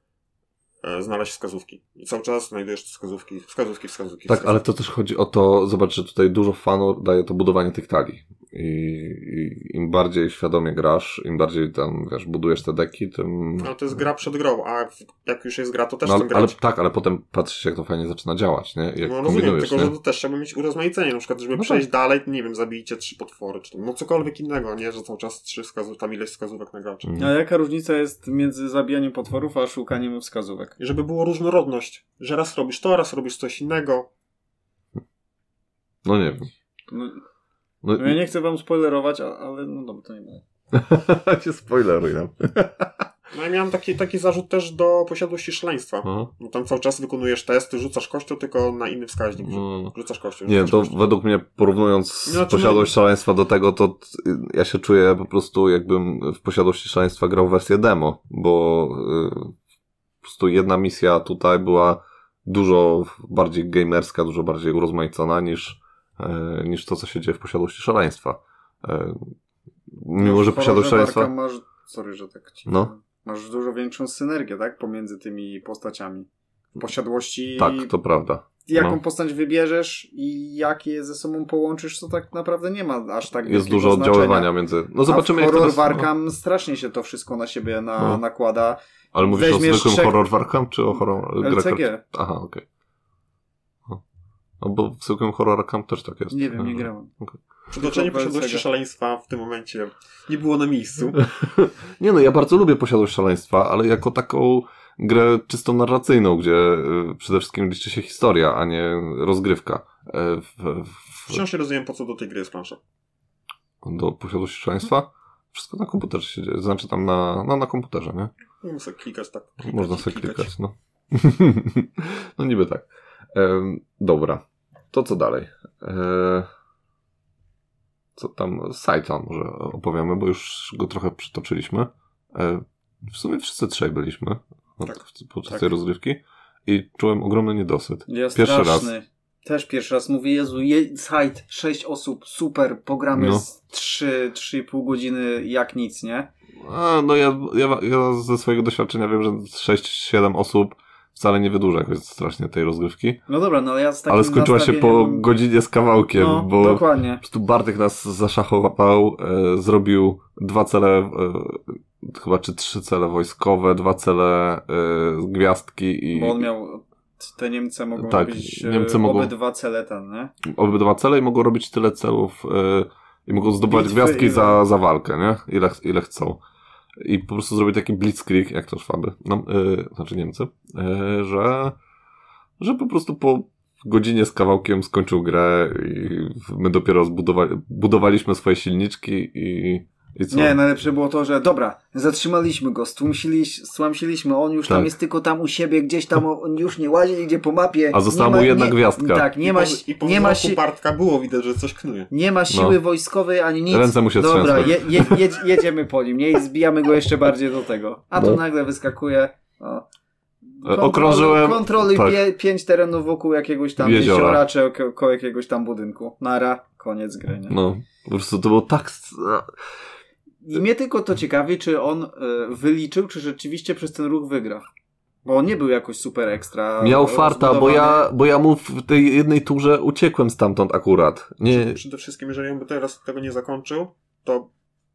e, znaleźć wskazówki. I cały czas znajdujesz wskazówki, wskazówki, wskazówki. Tak, wskazówki. ale to też chodzi o to, zobacz, że tutaj dużo fanów daje to budowanie tych talii. I, i im bardziej świadomie grasz, im bardziej tam, wiesz, budujesz te deki, tym... Ale to jest gra przed grą, a w- jak już jest gra, to No, też No, no, ale, chcę ale, grać. tak, ale potem patrzysz, jak to fajnie zaczyna działać, nie? I Jak no rozumiem, kombinujesz, tylko nie? że to też trzeba mieć urozmaicenie, na przykład, żeby No tak. przejść dalej, nie wiem, zabijcie trzy potwory, czy tam, no cokolwiek innego, nie? Że cały czas trzy wskazówki, tam ileś wskazówek na graczy. Mhm. A jaka różnica jest między zabijaniem potworów, a szukaniem wskazówek? I żeby było różnorodność, że raz robisz to, raz robisz coś innego. No nie wiem. No, No, no ja nie chcę wam spoilerować, a- ale no dobra, to nie będę. [laughs] cię spoileruj nam. No i miałem taki, taki zarzut też do posiadłości szaleństwa. No, No tam cały czas wykonujesz testy, rzucasz kością, tylko na inny wskaźnik. no. Rzucasz kością. Nie, rzucasz to kością. według mnie porównując No, znaczy, posiadłość szaleństwa do tego, to t- ja się czuję po prostu jakbym w posiadłości szaleństwa grał wersję demo, bo y, po prostu jedna misja tutaj była dużo bardziej gamerska, dużo bardziej urozmaicona niż, y, niż to, co się dzieje w posiadłości szaleństwa. Y, mimo, że W posiadłość horrorze szaleństwa... Arkham Masz, sorry, że tak ci... No. Masz dużo większą synergię, tak? Pomiędzy tymi postaciami. W Posiadłości... Tak, to prawda. Jaką no. postać wybierzesz i jak je ze sobą połączysz, to tak naprawdę nie ma aż tak Jest wielkiego dużo znaczenia. oddziaływania między... No zobaczymy A w jak horror teraz... Warkam strasznie się to wszystko na siebie na, No. nakłada. Ale mówisz o weźmiesz zwykłym trzech- horror Warkam, czy o horror... grę kart- LCG. Aha, okej. No. No bo w zwykłym horror camp też tak jest. Nie wiem, nie grałem. Przytoczenie Tylko posiadłości Belcega. szaleństwa w tym momencie nie było na [laughs] miejscu. Nie no, ja bardzo lubię Posiadłość Szaleństwa, ale jako taką grę czysto narracyjną, gdzie y, przede wszystkim liczy się historia, a nie rozgrywka. E, W, w, Wciąż nie rozumiem, po co do tej gry jest plansza. do Posiadłości Szaleństwa wszystko na komputerze się dzieje, znaczy tam na, no, na komputerze, nie? Nie muszę klikać tak. Klikać, Można i sobie klikać, no. [laughs] no niby tak. Em, dobra. To co dalej? E, co tam? Saitan może opowiemy, bo już go trochę przytoczyliśmy. E, w sumie wszyscy trzej byliśmy od, Tak, podczas tak. tej rozgrywki i czułem ogromny niedosyt. Ja Pierwszy straszny. Też pierwszy raz mówię, Jezu, je, sajt, sześć osób, super, pogramy No. z 3-3,5 godziny jak nic, nie? A, no ja, ja, ja ze swojego doświadczenia wiem, że 6-7 osób wcale nie wydłuża jakoś strasznie tej rozgrywki, No dobra, no ja z takim ale skończyła się po nastawieniem- godzinie z kawałkiem, no, bo dokładnie. Po prostu Bartek nas zaszachował, e, zrobił dwa cele, e, chyba czy trzy cele wojskowe, dwa cele e, gwiazdki i Bo on miał, te Niemcy mogą Tak, robić Niemcy Niemcy mogą- obydwa cele ten, nie? obydwa cele i mogą robić tyle celów e, i mogą zdobywać Bitwy gwiazdki i- za, za walkę, nie? Ile, ch- ile chcą. I po prostu zrobić taki blitzkrieg, jak to Szwaby, no, e, znaczy Niemcy, e, że, że po prostu po godzinie z kawałkiem skończył grę i my dopiero zbudowali, budowaliśmy swoje silniczki i, i co? Nie, najlepsze było to, że dobra, zatrzymaliśmy go, stłumsiliś- stłamsiliśmy, on już Tak. tam jest tylko tam u siebie, gdzieś tam on już nie łazi, idzie po mapie. A została Nie ma- mu jedna nie, gwiazdka. Tak, nie ma, I po, i po nie ma, si- Bartka było widać, że coś knuje. nie ma siły wojskowej ani nic. No. Ręce mu się Dobra, trzęsły. je, je, jedź- jedziemy po nim, nie? I zbijamy go jeszcze bardziej do tego. A tu No. nagle wyskakuje. O. E, okrążyłem- Kontroluj tak. pie, pięć terenów wokół jakiegoś tam Jeziora. jeziora, czy oko- koło jakiegoś tam budynku. Nara, koniec gry. Nie? No, po prostu to było tak. s- a- I mnie tylko to ciekawi, czy on y, wyliczył, czy rzeczywiście przez ten ruch wygra. Bo on nie był jakoś super ekstra. Miał e, farta, bo rozbudowany. ja, bo ja mu w tej jednej turze uciekłem stamtąd akurat. Nie, Przede wszystkim, jeżeli on by teraz tego nie zakończył, to.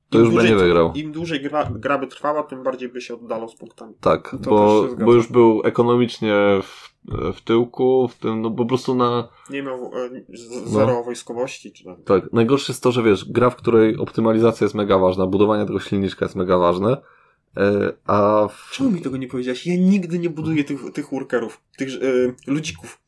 To im już by dłużej- nie wygrał. Im dłużej gra, gra by trwała, tym bardziej by się oddalał z punktami. tak, To też bo, się zgadzam. bo już był ekonomicznie w w tyłku, w tym, no po prostu na... Nie miał e, No. z- zero wojskowości, czy tam. Tak, najgorsze jest to, że wiesz, gra, w której optymalizacja jest mega ważna, budowanie tego silniczka jest mega ważne, e, a w... Czemu mi tego nie powiedziałeś? Ja nigdy nie buduję tych, tych workerów, tych e, ludzików.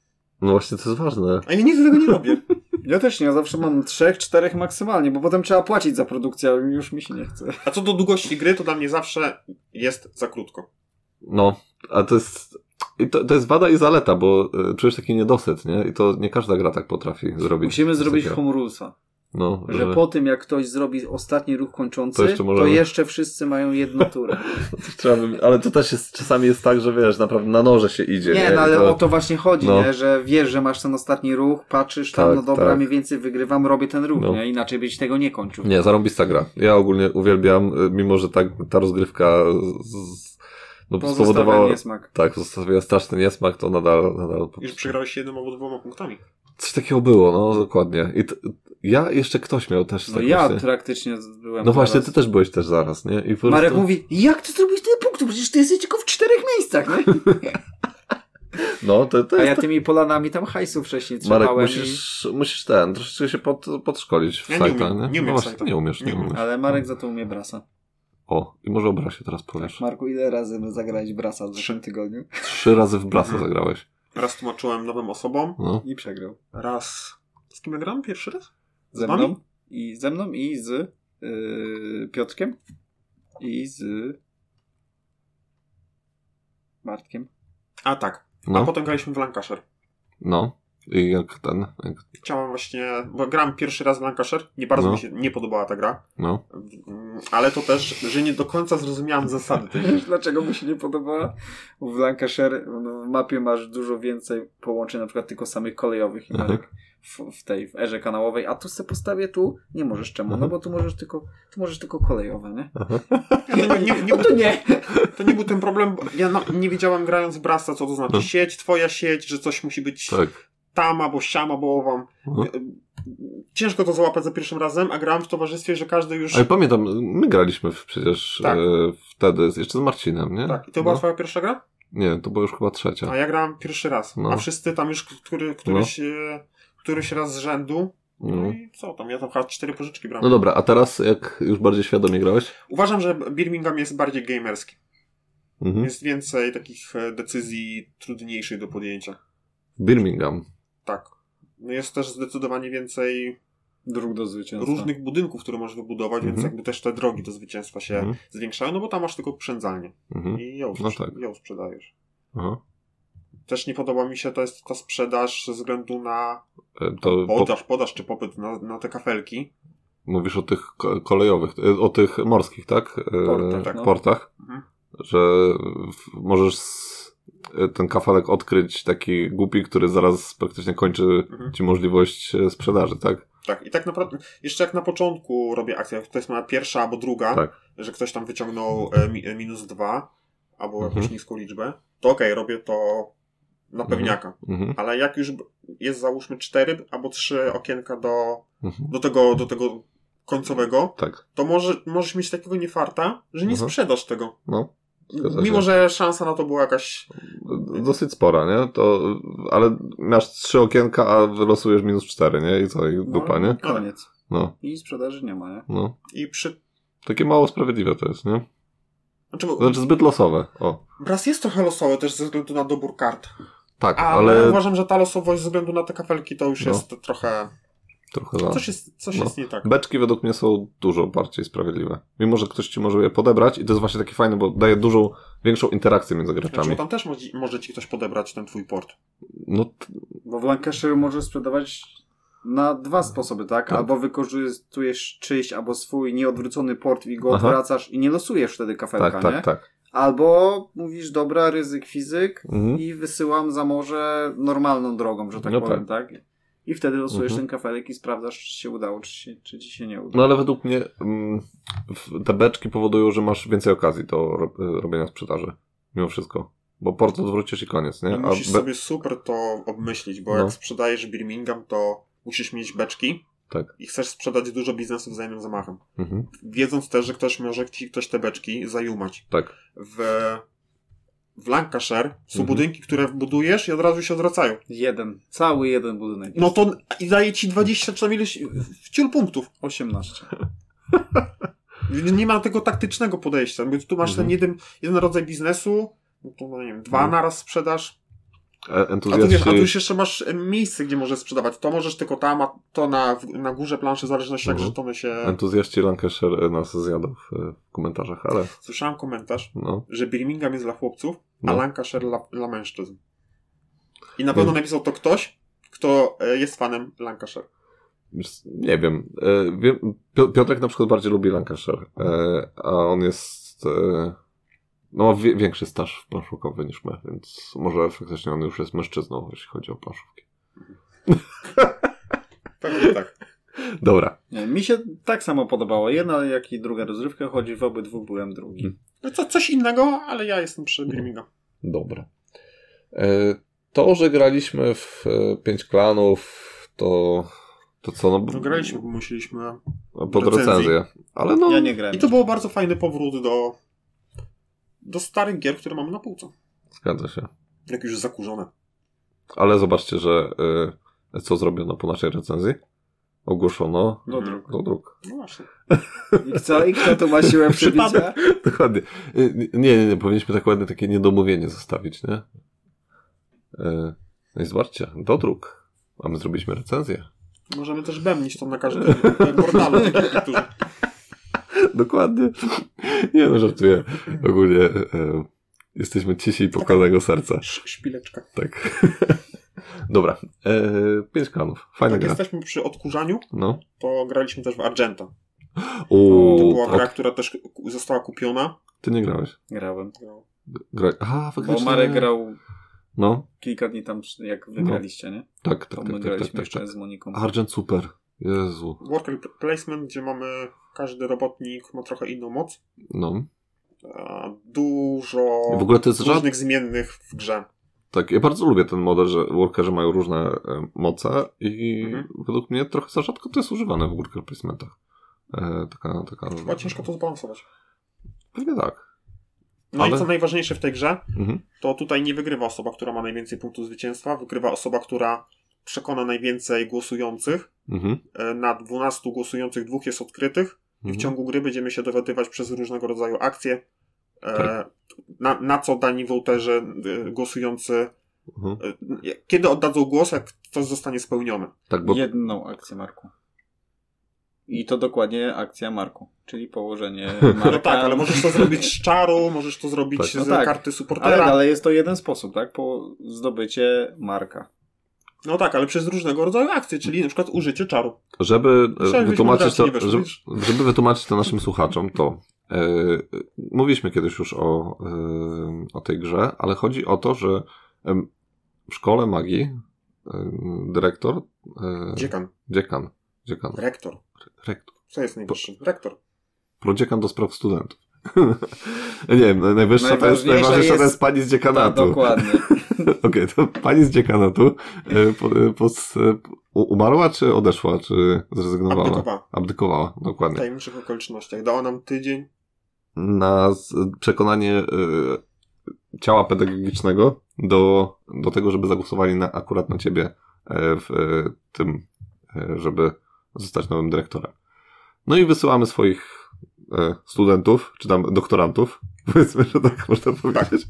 No właśnie, to jest ważne. A ja nigdy tego nie robię. Ja też nie, ja zawsze mam trzech, czterech maksymalnie, bo potem trzeba płacić za produkcję, a już mi się nie chce. A co do długości gry, to dla mnie zawsze jest za krótko. No, a to jest... I to, to jest wada i zaleta, bo e, czujesz taki niedosyt, nie? I to nie każda gra tak potrafi zrobić. Musimy Coś zrobić takiego. home rulesa, No, że po tym jak ktoś zrobi ostatni ruch kończący, To jeszcze to jeszcze, możemy. wszyscy mają jedną [laughs] turę. Trzeba by... Ale to też jest, czasami jest tak, że wiesz, naprawdę na noże się idzie. Nie, I no ale to... o to właśnie chodzi, no. nie? że wiesz, że masz ten ostatni ruch, patrzysz tam, Tak, no dobra, tak. mniej więcej wygrywam, robię ten ruch, No. nie? inaczej byś tego nie kończył. Nie, zarąbista gra. Ja ogólnie uwielbiam, y, mimo że tak ta rozgrywka z, z- no, Pozostawia spowodowała... niesmak. Tak, zostawiła straszny niesmak, to nadal... nadal Już przegrałeś jednym albo dwoma punktami. Coś takiego było, no dokładnie. I t... ja, jeszcze ktoś miał też No tak ja właśnie. praktycznie byłem No właśnie, zaraz. ty też byłeś też zaraz, nie? I po prostu... Marek mówi, jak ty zrobiłeś tyle punktów? Przecież ty jesteś tylko w czterech miejscach, nie? No, to, to [laughs] A jest ja tymi polanami tam hajsu wcześniej trzymałem. Marek, musisz, musisz ten, troszeczkę się pod, podszkolić w Ja nie sajta, umiem, nie? nie umiem no właśnie, sajta. nie umiesz, nie Nie umiem. umiesz. i... Ale Marek za to umie brasa. O, i może o Brasie teraz powiesz. Marku, ile razy my zagrałeś brasa w zeszłym tygodniu? Trzy razy w Brasa Mhm. zagrałeś. Raz tłumaczyłem nowym osobom, No. I przegrał. raz... Z kim ja gram pierwszy raz? Ze Z wami? mną i, ze mną i z yy, Piotrkiem i z Bartkiem. A tak. A No, potem graliśmy w Lancashire. no. I jak ten, jak, Chciałem właśnie... Bo grałem pierwszy raz w Lancashire. Nie bardzo No. mi się nie podobała ta gra. no. Mm, Ale to też, że nie do końca zrozumiałem zasady tej gry. [laughs] Wiesz, Dlaczego mu się nie podobała? Bo W Lancashire no, w mapie masz dużo więcej połączeń, na przykład tylko samych kolejowych i Mhm. marek w, w tej w erze kanałowej, a tu se postawię tu, nie możesz czemu, no Mhm. bo tu możesz tylko, tu możesz tylko kolejowe, [laughs] nie? To nie, nie, nie, No to nie! to nie był ten problem, bo ja na, nie wiedziałem grając w Brasta, co to znaczy No. sieć, twoja sieć, że coś musi być Tak. tam albo siam albo owam. Y, No. Ciężko to załapać za pierwszym razem, a grałem w towarzystwie, że każdy już... Ale pamiętam, my graliśmy w, przecież Tak. e, wtedy, z- jeszcze z Marcinem, nie? Tak, i to była no. twoja No pierwsza gra? Nie, to była już chyba trzecia. A ja grałem pierwszy raz, No. a wszyscy tam już który, któryś, e, któryś raz z rzędu. No, No. i co tam, ja tam chyba cztery pożyczki brałem. No dobra, a teraz jak już bardziej świadomie grałeś? Uważam, że Birmingham jest bardziej gamerski. Mhm. Jest więcej takich e, decyzji trudniejszych do podjęcia. Birmingham. Tak. No jest też zdecydowanie więcej Dróg do zwycięstwa. różnych budynków, które możesz wybudować, więc Mhm. jakby też te drogi do zwycięstwa się Mhm. zwiększają, no bo tam masz tylko przędzalnię Mhm. i ją, No sprze- tak. ją sprzedajesz. Aha. Też nie podoba mi się to jest ta sprzedaż ze względu na E, To po, podaż, podaż czy popyt na, na te kafelki. mówisz o tych ko- kolejowych, e, o tych morskich, tak? E, Portach, tak. portach. Mhm. że w- możesz s- ten kafelek odkryć taki głupi, który zaraz praktycznie kończy Mhm. ci możliwość e, sprzedaży, tak? Tak, i tak naprawdę, jeszcze jak na początku robię akcję, to jest moja pierwsza albo druga, Tak. że ktoś tam wyciągnął e, mi, e, minus dwa, albo jakąś Mhm. niską liczbę, to okej, robię to na Mhm. pewniaka. Mhm. Ale jak już b- jest załóżmy cztery albo trzy okienka do, Mhm. do, tego, do tego końcowego, Tak, to może, możesz mieć takiego niefarta, że nie Mhm. sprzedasz tego. no. Zgadza Mimo, się. że szansa na to była jakaś. Dosyć spora, nie? To, ale masz trzy okienka, a wylosujesz minus cztery, nie? I co? I No, dupa, nie? Koniec. No, I sprzedaży nie ma, nie? no. I przy. Takie mało sprawiedliwe to jest, nie? Znaczy, bo Znaczy zbyt losowe, o. Braz jest trochę losowy też ze względu na dobór kart. Tak, Ale, ale uważam, że ta losowość ze względu na te kafelki to już No. jest trochę. trochę za... Coś jest, coś No. jest nie tak. Beczki według mnie są dużo bardziej sprawiedliwe. Mimo, że ktoś ci może je podebrać i to jest właśnie takie fajne, bo daje dużą, większą interakcję między Znaczy, bo graczami. tam też może, może ci ktoś podebrać ten twój port. No, t- Bo w Lancashire możesz sprzedawać na dwa sposoby, tak? Tak. Albo wykorzystujesz czyjś, albo swój nieodwrócony port i go Aha. odwracasz i nie losujesz wtedy kafelka, tak, nie? tak, tak. Albo mówisz, dobra, ryzyk fizyk Mhm. i wysyłam za morze normalną drogą, że tak No powiem, tak? I wtedy losujesz ten Mhm. kafelek i sprawdzasz, czy się udało, czy, się, czy ci się nie udało. No ale według mnie mm, w- te beczki powodują, że masz więcej okazji do ro- y, robienia sprzedaży. Mimo wszystko. Bo port odwrócisz i koniec, nie? I A No, musisz be- sobie super to obmyślić, bo No. jak sprzedajesz Birmingham, to musisz mieć beczki Tak. i chcesz sprzedać dużo biznesów za jednym zamachem. Mhm, Wiedząc też, że ktoś może ci ktoś te beczki zajumać. tak. W, w Lancashire Mhm. są budynki, które budujesz i od razu się odwracają. Jeden. Cały jeden budynek. No to i daje ci 20 czy tam ileś wciul punktów. 18. Więc Nie ma tego taktycznego podejścia. Więc tu masz Mhm. ten jeden, jeden rodzaj biznesu, no to, no nie wiem, dwa Mhm. naraz sprzedaż. E- A tu, wiesz, a tu Entuzjaści. już jeszcze masz e, miejsce, gdzie możesz sprzedawać. To możesz tylko tam, a to na, w- na górze planszy, w zależności jak Mhm. żetony się... Entuzjaści Lancashire e, nas zjadą w, e, w komentarzach, ale Słyszałem komentarz, no. że Birmingham jest dla chłopców, a No. Lancashire dla, dla mężczyzn. I na Nie. pewno napisał to ktoś, kto e, jest fanem Lancashire. Wiesz, Nie wiem. E, wiem. Pio- Piotrek na przykład bardziej lubi Lancashire, e, a on jest. E, no, ma wie, większy staż w planszówkowy niż my, więc może faktycznie on już jest mężczyzną, jeśli chodzi o planszówki. Pewnie [laughs] tak. Dobra. Nie, mi się tak samo podobało. Jedna jak i druga rozrywka, choć w obydwu byłem drugi. No to coś innego, ale ja jestem przy Birmingham. Dobra. E, To, że graliśmy w e, pięć klanów, to, to co? No, No graliśmy, bo musieliśmy. Pod recenzji. recenzję. Ale no, Ja nie grałem. I to było bardzo fajny powrót do, do starych gier, które mamy na półce. zgadza się. Jak już zakurzone. Ale zobaczcie, że e, co zrobiono po naszej recenzji? Ogłoszono Do dróg. do dróg. [laughs] No właśnie. I co, i kto tu ma siłę przebicia? Przypadek. Dokładnie. E, Nie, nie, nie, powinniśmy tak ładnie takie niedomówienie zostawić, nie? E, No i zobaczcie, do dróg. A my zrobiliśmy recenzję. Możemy też bębnić to na każdym [laughs] portalu. tak jak niektórzy. Dokładnie. [laughs] Nie no, żartuję. Ogólnie e, jesteśmy cisi i pokornego serca. Sz- Szpileczka. Tak. [laughs] Dobra. E, pięć klanów. Fajna Jak gra. Tak, jesteśmy przy odkurzaniu, No. to graliśmy też w Argenta. To Uuu, była gra, tak. która też ku- została kupiona. Ty nie grałeś. Grałem. Gra... Aha, Bo faktycznie. Marek grał No. kilka dni tam, jak wygraliście, nie? Tak, To tak, my tak, tak, graliśmy tak, tak, jeszcze tak. z Moniką. Argent Super. Jezu. Worker Placement, gdzie mamy każdy robotnik ma trochę inną moc. No. a Dużo W ogóle to jest żad... różnych zmiennych w grze. Tak, ja bardzo lubię ten model, że workerzy mają różne e, moce i Mhm. według mnie trochę za rzadko to jest używane w worker placementach. E, taka, taka... Chyba ciężko to zbalansować. Pewnie tak. No Ale- i co najważniejsze w tej grze, Mhm. to tutaj nie wygrywa osoba, która ma najwięcej punktów zwycięstwa, wygrywa osoba, która przekona najwięcej głosujących. Mhm. E, Na 12 głosujących dwóch jest odkrytych i w Mhm. ciągu gry będziemy się dowiadywać przez różnego rodzaju akcje, e, Tak. na, na co dani wołterzy e, głosujący, Mhm. e, kiedy oddadzą głos, jak to zostanie spełnione. Tak, bo Jedną akcję Marku. I to dokładnie akcja Marku, czyli położenie [laughs] Marka. No tak, ale [laughs] możesz to zrobić z czaru, możesz to zrobić Tak. z No tak. karty Ale supportera. dalej jest to jeden sposób, tak? Po zdobycie Marka. No tak, ale przez różnego rodzaju akcje, czyli na przykład użycie czaru. żeby e, Myślałem, wytłumaczyć to, żebyśmy w racji nie żeby, weszli. żeby wytłumaczyć to naszym słuchaczom, to e, e, mówiliśmy kiedyś już o, e, o tej grze, ale chodzi o to, że em, w szkole magii e, dyrektor, e, Dziekan, dziekan, dziekan, rektor. rektor, Co jest najwyższy? Rektor. prodziekan do spraw studentów. [laughs] Nie wiem, najwyższa to jest, Najważniejsza najważniejsza to jest- jest pani z Tak, dziekanatu. dokładnie. [laughs] Okej, to pani z dziekanatu e, po, e, po, e, u- umarła, czy odeszła, czy zrezygnowała? Abdykowała. Abdykowała, W dokładnie. tajemniczych okolicznościach. Dała nam tydzień. Na z- przekonanie e, ciała pedagogicznego do, do tego, żeby zagłosowali na, akurat na ciebie e, w e, tym, e, żeby zostać nowym dyrektorem. No i wysyłamy swoich e, studentów, czy tam doktorantów, [laughs] powiedzmy, że tak można powiedzieć,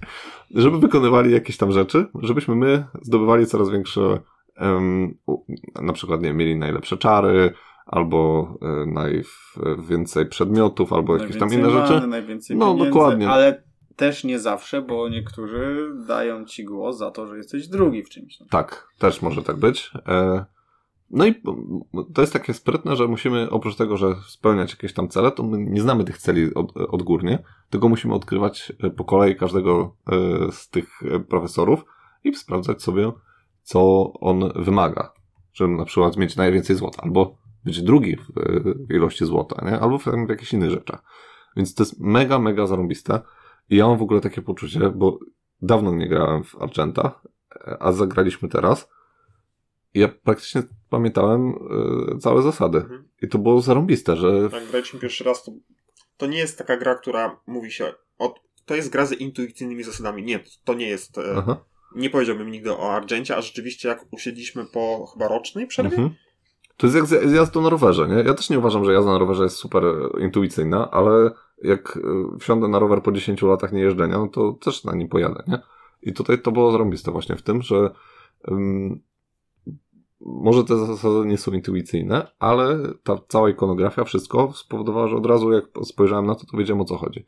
żeby wykonywali jakieś tam rzeczy, żebyśmy my zdobywali coraz większe, em, u- na przykład, nie wiem, mieli najlepsze czary, albo e, najwięcej przedmiotów, albo jakieś tam Najwięcej inne mamy, rzeczy. Najwięcej No, pieniędzy, dokładnie. Ale też nie zawsze, bo niektórzy dają ci głos za to, że jesteś drugi w czymś. Tak, też może tak być. E, No i m, to jest takie sprytne, że musimy oprócz tego, że spełniać jakieś tam cele, to my nie znamy tych celi od, odgórnie, tylko musimy odkrywać e, po kolei każdego e, z tych e, profesorów i sprawdzać sobie, co on wymaga. Żeby na przykład mieć najwięcej złota, albo być drugi w, e, w ilości złota, nie? albo w, tam w jakichś innych rzeczach. Więc to jest mega, mega zarąbiste. I ja mam w ogóle takie poczucie, bo dawno nie grałem w Argenta, a zagraliśmy teraz. I Ja praktycznie pamiętałem e, całe zasady. Mhm. I to było zarąbiste, że. Jak graliśmy pierwszy raz, to, to nie jest taka gra, która mówi się od to jest gra z intuicyjnymi zasadami. Nie, to nie jest. e, Aha. Nie powiedziałbym nigdy o Argencie, a rzeczywiście jak usiedliśmy po chyba rocznej przerwie, Mhm. To jest jak zja- jazda na rowerze, nie? Ja też nie uważam, że jazda na rowerze jest super e, intuicyjna, ale jak e, wsiądę na rower po 10 latach niejeżdżenia, no to też na nim pojadę, nie? I tutaj to było zarąbiste właśnie w tym, że ym, może te zasady nie są intuicyjne, ale ta cała ikonografia, wszystko spowodowało, że od razu jak spojrzałem na to, to wiedziałem o co chodzi.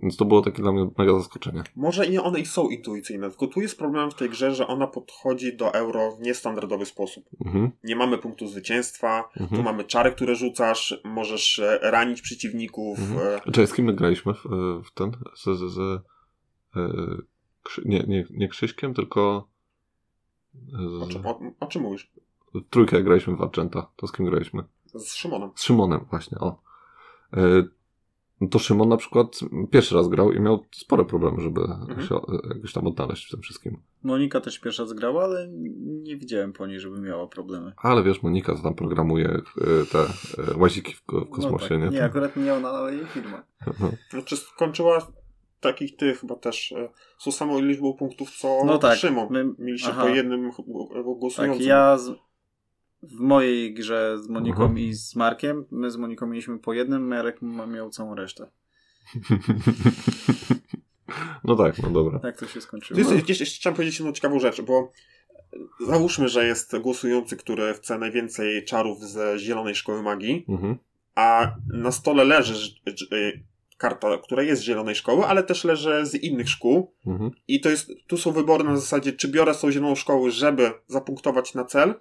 Więc to było takie dla mnie mega zaskoczenie. Może i one i są intuicyjne, tylko tu jest problem w tej grze, że ona podchodzi do euro w niestandardowy sposób. Mhm, Nie mamy punktu zwycięstwa, tu mhm. mamy czary, które rzucasz, możesz e, ranić przeciwników. Mhm. e, Czy z kim my graliśmy w, e, w ten? Z, z, z, e, krzy, nie, nie, nie Krzyśkiem, tylko. e, O, Znaczy, Z, czym- o, o czym mówisz? trójkę graliśmy w Argenta. To z kim graliśmy? Z Szymonem. Z Szymonem, właśnie, o. E, no To Szymon na przykład pierwszy raz grał i miał spore problemy, żeby Mhm. się e, jakoś tam odnaleźć w tym wszystkim. Monika też pierwsza zgrała, ale nie widziałem po niej, żeby miała problemy. Ale wiesz, Monika to tam programuje e, te e, łaziki w, ko- w no kosmosie, tak. nie? Nie, akurat nie ona, ale jej firma. Znaczy skończyła takich tych chyba też e, z tą samą liczbą punktów, co No tak, Szymon. my- Mieliście aha. po jednym ch- głosującym. Tak, ja z, w mojej grze z Moniką Mhm. i z Markiem, my z Moniką mieliśmy po jednym, Marek ma- miał całą resztę. [laughs] No tak, no dobra. Tak to się skończyło. Tu jest, jeszcze, jeszcze chciałem powiedzieć jedną ciekawą rzecz, bo załóżmy, że jest głosujący, który chce najwięcej czarów ze Zielonej Szkoły Magii, Mhm. a na stole leży ż- ż- y, karta, która jest z Zielonej Szkoły, ale też leży z innych szkół. Mhm. I to jest, tu są wybory na zasadzie, czy biorę tą Zieloną Szkołę, żeby zapunktować na cel,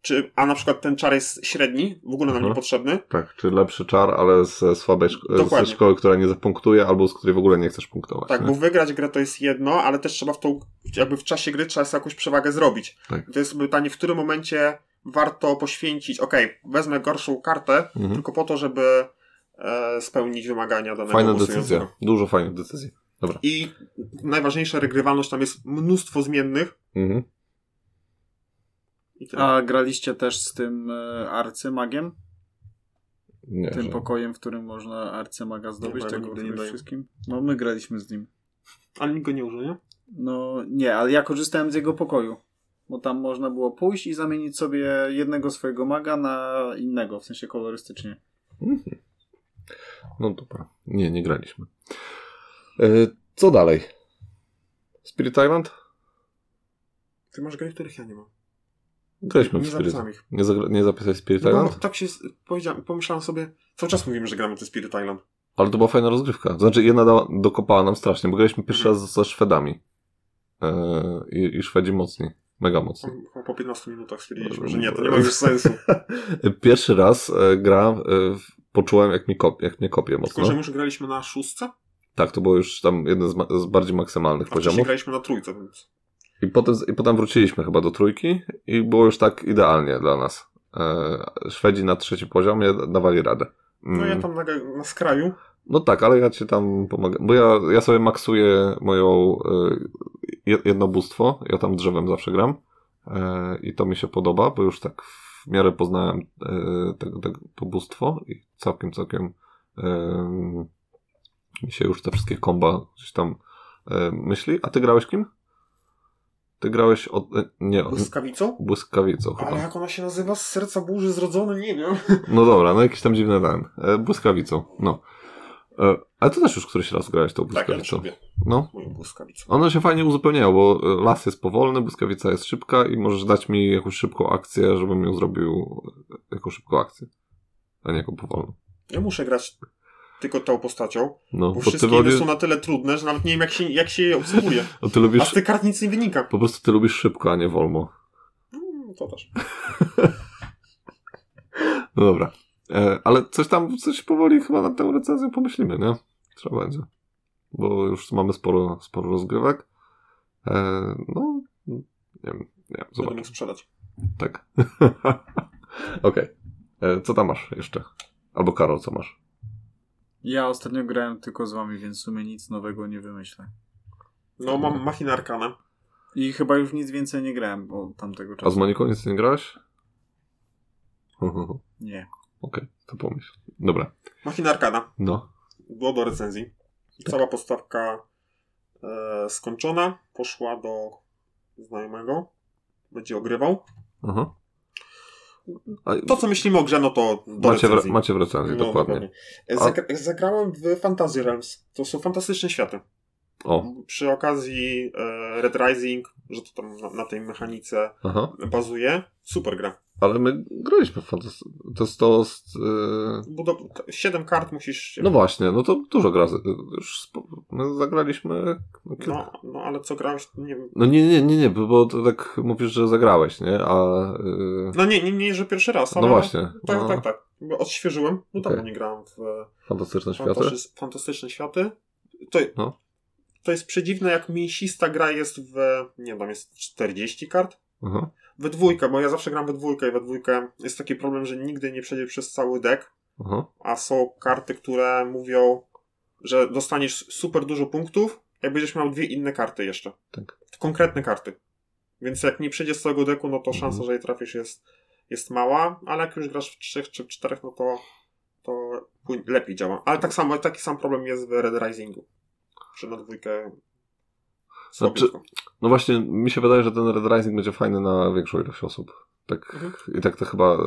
czy, a na przykład ten czar jest średni, w ogóle nam Aha. niepotrzebny, Tak, czy lepszy czar, ale ze słabej szko- Dokładnie. ze szkoły, która nie zapunktuje, albo z której w ogóle nie chcesz punktować. Tak, nie? bo wygrać grę to jest jedno, ale też trzeba w tą, jakby w czasie gry trzeba sobie jakąś przewagę zrobić. Tak. To jest pytanie, w którym momencie warto poświęcić, okej, wezmę gorszą kartę, Mhm. tylko po to, żeby e, spełnić wymagania danego Fajna głosującego. decyzja, dużo fajnych decyzji. Dobra. I najważniejsza regrywalność, tam jest mnóstwo zmiennych. Mhm. I tyle. A graliście też z tym e, arcymagiem? Nie, Tym że- pokojem, w którym można arcymaga zdobyć, bo ja tego nigdy nie którego daję. wszystkim? No my graliśmy z nim. Ale nikt go nie użyje. No nie, ale ja korzystałem z jego pokoju. Bo tam można było pójść i zamienić sobie jednego swojego maga na innego, w sensie kolorystycznie. Mhm. No dobra, nie, nie graliśmy. E, co dalej? Spirit Island? Ty masz gry, których ja nie mam. Graliśmy w nie Spirit. zapisałem ich. Nie, zagra- nie zapisałeś Spirit No bo Island? tak się s- powiedziałem, pomyślałem sobie, cały czas mówimy, że gramy w ten Spirit Island. Ale to była fajna rozgrywka. To Znaczy, jedna dała, dokopała nam strasznie, bo graliśmy pierwszy Mhm. raz ze Szwedami. E, i, I Szwedzi mocni. Mega mocni. Chyba Po 15 minutach stwierdziliśmy, że nie, to nie ma już [laughs] sensu. Pierwszy raz e, gra, e, w- poczułem jak, mi kop, jak mnie kopie mocno. Tylko, że my już graliśmy na szóstce, Tak, to było już tam jeden z, ma- z bardziej maksymalnych a wcześniej poziomów. graliśmy na trójce, więc... I potem, I potem wróciliśmy chyba do trójki i było już tak idealnie dla nas. E, Szwedzi na trzecim poziomie da- dawali radę. Mm. No ja tam na, na skraju. No tak, ale ja ci tam pomagam, bo ja, ja sobie maksuję moją e, jed- jedno bóstwo, ja tam drzewem zawsze gram e, i to mi się podoba, bo już tak w miarę poznałem e, tego, tego, to bóstwo i całkiem, całkiem e, mi się już te wszystkie komba gdzieś tam e, myśli. A ty grałeś kim? Ty grałeś od... E, nie, od, Błyskawicą? błyskawicą Ale chyba. jak ona się nazywa? Z serca burzy zrodzony? Nie wiem. No dobra, no jakiś tam dziwny ten. E, błyskawicą, no. E, ale ty też już któryś raz grałeś tą Tak, ja też błyskawicą. lubię no. moją błyskawicą. One się fajnie uzupełniają, bo e, las jest powolny, błyskawica jest szybka i możesz dać mi jakąś szybką akcję, żebym ją zrobił e, jako szybką akcję, a nie jako powolną. Ja muszę grać tylko tą postacią, No, bo bo ty, wszystkie inne woli, są na tyle trudne, że nawet nie wiem jak się, jak się je obsługuje. o, ty A z lubisz, tych kart nic nie wynika. po prostu ty lubisz szybko, a nie wolno. Mm, to też. No dobra. E, ale coś tam, coś powoli chyba nad tą recenzją pomyślimy, nie? Trzeba będzie. Bo już mamy sporo, sporo rozgrywek. E, no, nie wiem, nie wiem, Będę zobaczymy. mógł sprzedać. Tak. [laughs] Okej. E, Co tam masz jeszcze? Albo Karol, co masz? Ja ostatnio grałem tylko z wami, więc w sumie nic nowego nie wymyślę. No, mam machinę Arkana. I chyba już nic więcej nie grałem od tamtego A z czasu. Moniką nic nie grałeś? Okej, Nie. [laughs] to pomyśl. Dobra. Machina Arkana. No. Było do recenzji. Cała podstawka e, skończona, poszła do znajomego, będzie ogrywał. Aha. A, To, co myślimy o grze, no to do macie, wra- recenzji. macie recenzję, No, dokładnie. E, zagra- Zagrałem w Fantasy Realms. To są fantastyczne światy. O, Przy okazji e, Red Rising, że to tam na, na tej mechanice aha. bazuje, super gra. Ale my graliśmy w fantasy. To jest to... Z, e, Budow- t- siedem kart musisz. No właśnie, no to dużo gra. z- Już spo... my zagraliśmy... No, kilka- no, no ale co grałeś, to nie wiem. No nie, nie, nie, nie, bo bo to tak mówisz, że zagrałeś, nie? A... y, No nie, nie, nie, że pierwszy raz, ale. No właśnie. Tak, no, tak, tak. Bo Odświeżyłem, no Okej. dawno nie grałem w e, Fantastyczne światy. fantastycz- fantastyczne światy. To, No. to jest przedziwne, jak mięsista gra jest w. Nie wiem, jest 40 kart. Aha. We dwójkę, bo ja zawsze gram we dwójkę i we dwójkę jest taki problem, że nigdy nie przejdzie przez cały deck. Aha. a są karty, które mówią, że dostaniesz super dużo punktów, jak będziesz miał dwie inne karty jeszcze. Tak. Konkretne karty. Więc jak nie przyjdzie z całego deku, no to Mhm. szansa, że jej trafisz jest, jest mała, ale jak już grasz w trzech czy w czterech, no to, to płyn- lepiej działa. Ale tak samo, taki sam problem jest w Red Risingu. Czy na dwójkę Znaczy- słabiutko. No właśnie, mi się wydaje, że ten Red Rising będzie fajny na większą ilość osób. Tak, Mhm. I tak to chyba e,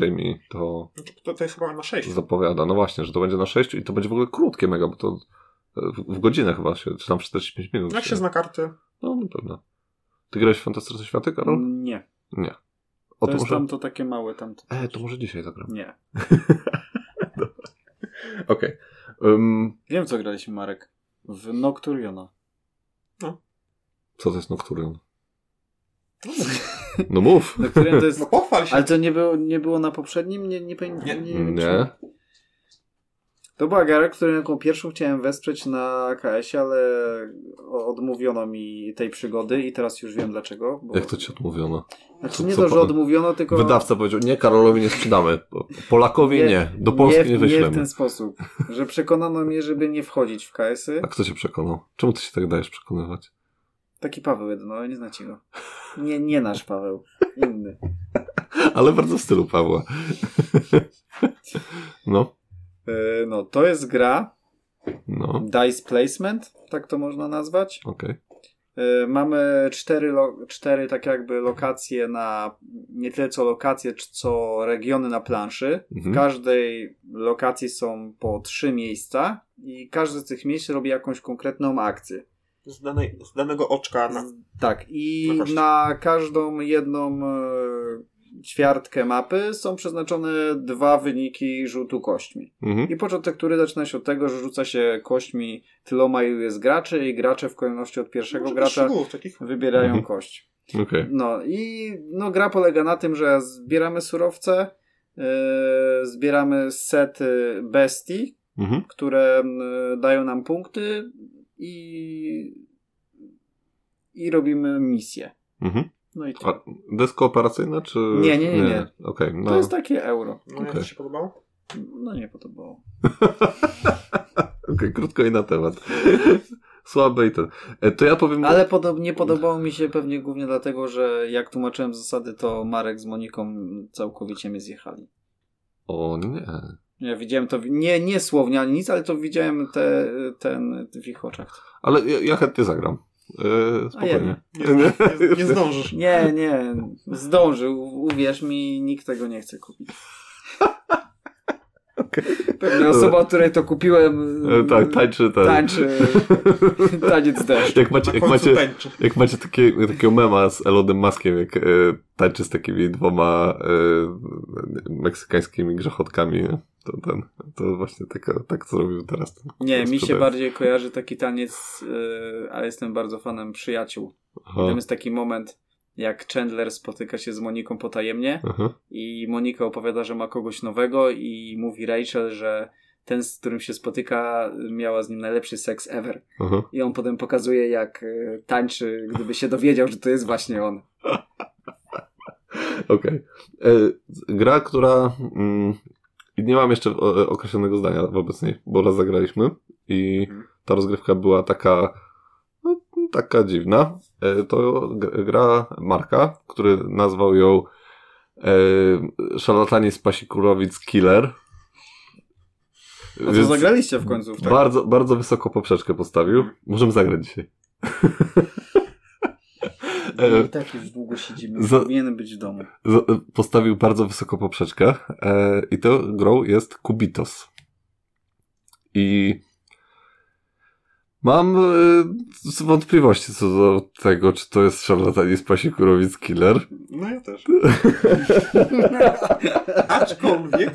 e, Jamie to Znaczy, to, to jest chyba na sześć. zapowiada. No właśnie, że to będzie na 6 i to będzie w ogóle krótkie mega, bo to e, w, w godzinę chyba się, czy tam w 45 minut. Jak się zna karty? No na pewno. Ty grałeś w Fantastyczne Światy, Karol? Nie. Nie. Mm, To O, to, jest może... tamto takie małe tamto. E, to może dzisiaj zagram. Nie. Okej. Ym, Wiem co graliśmy Marek. W Nocturiona. co to jest Nocturne? No, No mów! Nocturion to jest... No [laughs] pochwal się. Ale to nie było, nie było na poprzednim? Nie, nie, nie, [laughs] Nie. nie, nie, Nie. To była gra, którą jaką pierwszą chciałem wesprzeć na KS-ie, ale o- odmówiono mi tej przygody i teraz już wiem dlaczego. Bo... Jak to ci odmówiono? Znaczy co- nie co to, że pan- odmówiono, tylko... Wydawca powiedział, nie, Karolowi nie sprzedamy. Polakowi Nie, nie. Do Polski nie, nie, w- Nie wyślemy. w ten sposób, że przekonano mnie, żeby nie wchodzić w KS-y. A kto cię przekonał? Czemu ty się tak dajesz przekonywać? Taki Paweł jeden, ale nie znacie go. Nie, nie nasz Paweł, inny. Ale bardzo w stylu Pawła. [laughs] No, E, No, to jest gra no, Dice Placement, tak to można nazwać. okej. E, Mamy cztery, lo- cztery tak jakby lokacje na, nie tyle co lokacje, c- co regiony na planszy. W Mhm. każdej lokacji są po trzy miejsca i każdy z tych miejsc robi jakąś konkretną akcję. Z, danej, z danego oczka na Z- Tak, i Na na, kości. każdą jedną e, ćwiartkę mapy są przeznaczone dwa wyniki rzutu kośćmi. Mhm. I początek, który zaczyna się od tego, że rzuca się kośćmi tyloma ilu jest graczy i gracze w kolejności od pierwszego Może gracza bez szczegółów takich. wybierają Mhm. kość. Okej. No i no, gra polega na tym, że zbieramy surowce, yy, zbieramy sety bestii, Mhm. które yy, dają nam punkty i, i robimy misje. Mhm. No i A to. desko operacyjna, czy... Nie, nie, nie, nie. Okej, To no. jest takie euro. No jak Okej. ci się podobało? No nie podobało. Okej, krótko i na temat. [laughs] Słabe i ten. E, To ja powiem... Ale podo- nie podobało mi się pewnie głównie dlatego, że jak tłumaczyłem zasady, to Marek z Moniką całkowicie mnie zjechali. O nie. Ja widziałem to, w- nie, nie słownie ani nic, ale to widziałem te, ten w ich oczach. Ale ja, ja chętnie zagram. E, spokojnie. Nie, nie, nie, nie zdążysz. Nie, nie, zdążył. Uwierz mi, nikt tego nie chce [laughs] kupić. Pewnie osoba, której to kupiłem, E, tak, tańczy ten. [laughs] tańczy taniec deszcz. Jak macie, Na jak końcu macie, tęczy. Jak macie takie, takiego mema z Elonem Maskiem, jak e, tańczy z takimi dwoma e, meksykańskimi grzechotkami, nie? to ten, to właśnie taka, tak zrobił teraz. ten- Nie, mi się sprzedający. bardziej kojarzy taki taniec, yy, ale jestem bardzo fanem przyjaciół. Tam jest taki moment, jak Chandler spotyka się z Moniką potajemnie Aha. i Monika opowiada, że ma kogoś nowego i mówi Rachel, że ten, z którym się spotyka, miała z nim najlepszy seks ever. Aha. I on potem pokazuje, jak y, tańczy, gdyby się dowiedział, że to jest właśnie on. Okej. E, Gra, która. Mm, nie mam jeszcze o- określonego zdania wobec niej, bo raz zagraliśmy i Mhm. ta rozgrywka była taka. No, taka dziwna. E, To g- gra Marka, który nazwał ją e, Szarlatani z Pasikurowic Killer. A to zagraliście w końcu. w tak? bardzo, bardzo wysoko poprzeczkę postawił. Możemy zagrać dzisiaj. No I tak już długo siedzimy. e- Za- Powinien być w [laughs] domu. Z- Postawił bardzo wysoko poprzeczkę e, i to grą jest Kubitos. I mam e, wątpliwości co do tego, czy to jest szarlatanizm Pasikurowic Killer. [laughs] No ja też. Aczkolwiek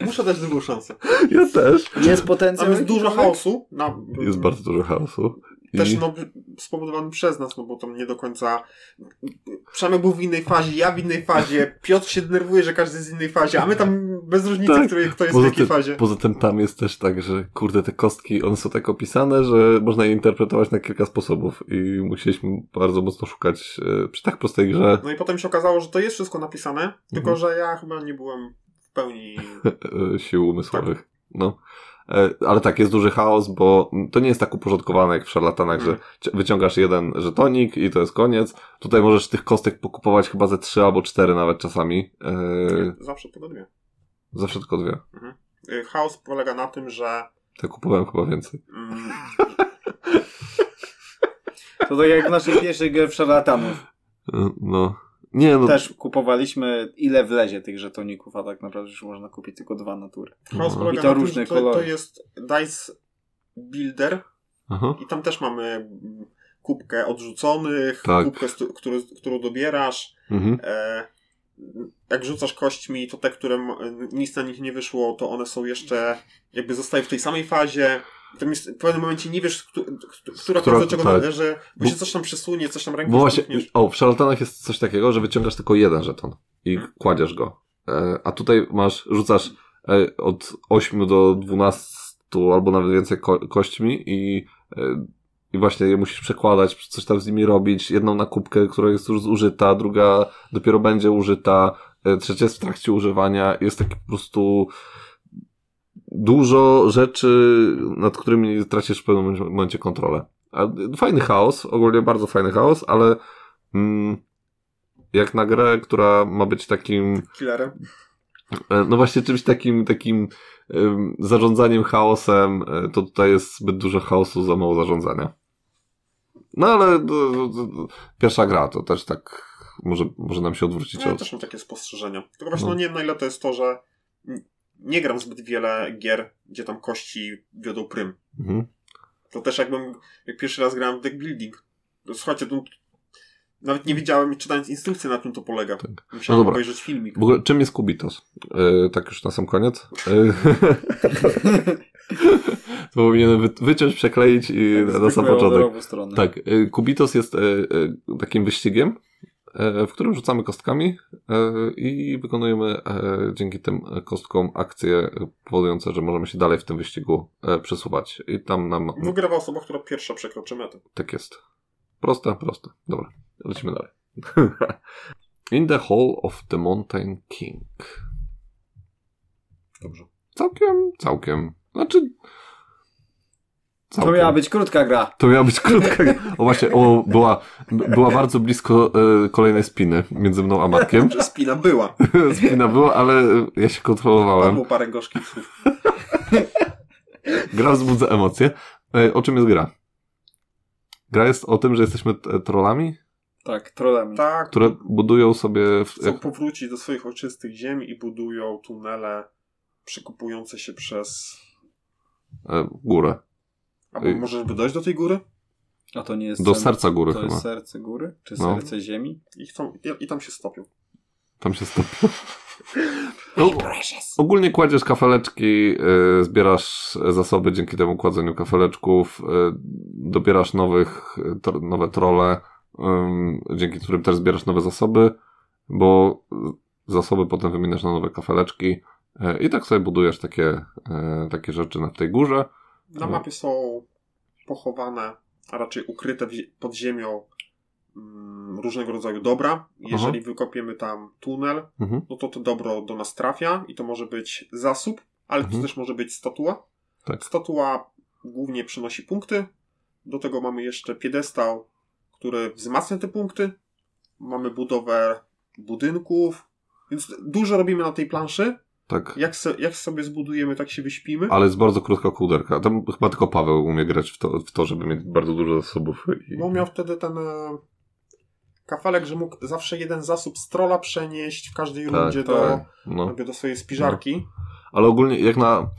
muszę dać drugą szansę. Ja też. Jest potencjał. Tam jest dużo jakikolwiek? chaosu. Na, Jest bardzo dużo chaosu. I, Też no, spowodowany przez nas, no bo tam nie do końca. Przemek był w innej fazie, ja w innej fazie. Piotr się denerwuje, że każdy jest w innej fazie, a my tam bez różnicy, Tak. który, kto jest w poza, jakiej tym, fazie. poza tym tam jest też tak, że kurde te kostki, one są tak opisane, że można je interpretować na kilka sposobów i musieliśmy bardzo mocno szukać e, przy tak prostej grze No i potem się okazało, że to jest wszystko napisane, Mhm. tylko że ja chyba nie byłem w [laughs] pełni. e, sił umysłowych. No. E, Ale tak, jest duży chaos, bo to nie jest tak uporządkowane jak w szarlatanach, Mhm. że ci- wyciągasz jeden żetonik i to jest koniec. Tutaj możesz tych kostek pokupować chyba ze trzy albo cztery nawet czasami. E, Zawsze podobnie. Zawsze tylko dwie. Y, Chaos polega na tym, że. Te kupowałem chyba więcej. Mm, To tak jak w naszej pierwszej grze w szarlatanów. E, No. Nie, no. Też kupowaliśmy ile wlezie tych żetoników, a tak naprawdę już można kupić tylko dwa [laughs] natury. chaos Mhm. polega I to na tym, różne że to, kolory. to jest Dice Builder, Aha. I tam też mamy mm, kubkę odrzuconych, Tak. kubkę, stu- który, którą dobierasz. Mhm. E, jak rzucasz kośćmi, to te, które m- nic na nich nie wyszło, to one są jeszcze, jakby zostają w tej samej fazie. Tam jest, w pewnym momencie nie wiesz, któ, któ, która, Która- która do czego tak. należy, bo Bo- się coś tam przesunie, coś tam ręką Bo właśnie, stukniesz. o, w szarlatanach jest coś takiego, że wyciągasz tylko jeden żeton i kładziesz go. E, a tutaj masz, rzucasz e, od 8 do 12 albo nawet więcej ko- kośćmi i, e, i właśnie je musisz przekładać, coś tam z nimi robić. Jedną na kubkę, która jest już zużyta, druga dopiero będzie użyta, e, trzecia jest w trakcie używania. Jest taki po prostu dużo rzeczy, nad którymi tracisz w pewnym momencie kontrolę. A, Fajny chaos, ogólnie bardzo fajny chaos, ale mm, jak na grę, która ma być takim, Killerem. e, no właśnie czymś takim, takim em, zarządzaniem chaosem, e, to tutaj jest zbyt dużo chaosu, za mało zarządzania. No ale e, e, e, pierwsza gra to też tak może, może nam się odwrócić No, ja od... też mam takie spostrzeżenia. Tylko właśnie No. no. nie wiem, na ile to jest to, że n- nie gram zbyt wiele gier, gdzie tam kości wiodą prym. Mhm. To też jakbym, jak pierwszy raz grałem w deck building. To Słuchajcie, to, nawet nie wiedziałem, czytając instrukcję, na czym to polega. Musiałem No dobra. obejrzeć filmik. W ogóle czym jest Kubitos? E, tak już na sam koniec. E, [laughs] to powinienem wy, wyciąć, przekleić i Tak, na sam początek. Strony. Tak, y, Kubitos jest y, y, takim wyścigiem, y, w którym rzucamy kostkami y, i wykonujemy y, dzięki tym kostkom akcje y, powodujące, że możemy się dalej w tym wyścigu y, przesuwać. I tam nam Wygrywa osoba, która pierwsza przekroczy metę. tak jest. Proste, proste. Dobra, lecimy dalej. [laughs] In the Hall of the Mountain King. Dobrze. Całkiem, całkiem. Znaczy... To miała być krótka gra. To miała być krótka. O właśnie, o, była, była bardzo blisko e, kolejnej spiny między mną a Markiem. [laughs] Że Spina była. Spina była, ale e, ja się kontrolowałem. Padło parę gorzkich słów. Gra wzbudza emocje. E, o czym jest gra? Gra jest o tym, że jesteśmy e, trollami, Tak, trolami. [laughs] Tak, które budują sobie. W, chcą powrócić do swoich ojczystych ziem i budują tunele przekupujące się przez... e, górę. Albo Ej. może żeby dojść do tej góry? A to nie jest Do sen- serca góry To chyba. jest serce góry? Czy No. serce ziemi? I, chcą, i, i tam się stopią. Tam się stopił. No, [laughs] ogólnie kładziesz kafeleczki, y, zbierasz zasoby dzięki temu kładzeniu kafeleczków, y, dobierasz nowych, y, tro, nowe trole, ym, dzięki którym też zbierasz nowe zasoby, bo y, zasoby potem wymieniasz na nowe kafeleczki y, i tak sobie budujesz takie, y, takie rzeczy na tej górze. No. Na mapie są pochowane, a raczej ukryte w zie- pod ziemią mm, różnego rodzaju dobra. Jeżeli wykopiemy tam tunel, Mhm. no to to dobro do nas trafia i to może być zasób, ale Mhm. to też może być statua. Tak. Statua głównie przynosi punkty. Do tego mamy jeszcze piedestał, który wzmacnia te punkty. Mamy budowę budynków, więc dużo robimy na tej planszy, Tak. Jak, se, jak sobie zbudujemy, tak się wyśpimy. Ale jest bardzo krótka kółderka. Tam chyba tylko Paweł umie grać w to, w to żeby mieć bardzo dużo zasobów. I... Bo No, miał wtedy ten e, kafelek, że mógł zawsze jeden zasób z trola przenieść w każdej rundzie do, Tak, No. jakby do swojej spiżarki. Ale ogólnie jak na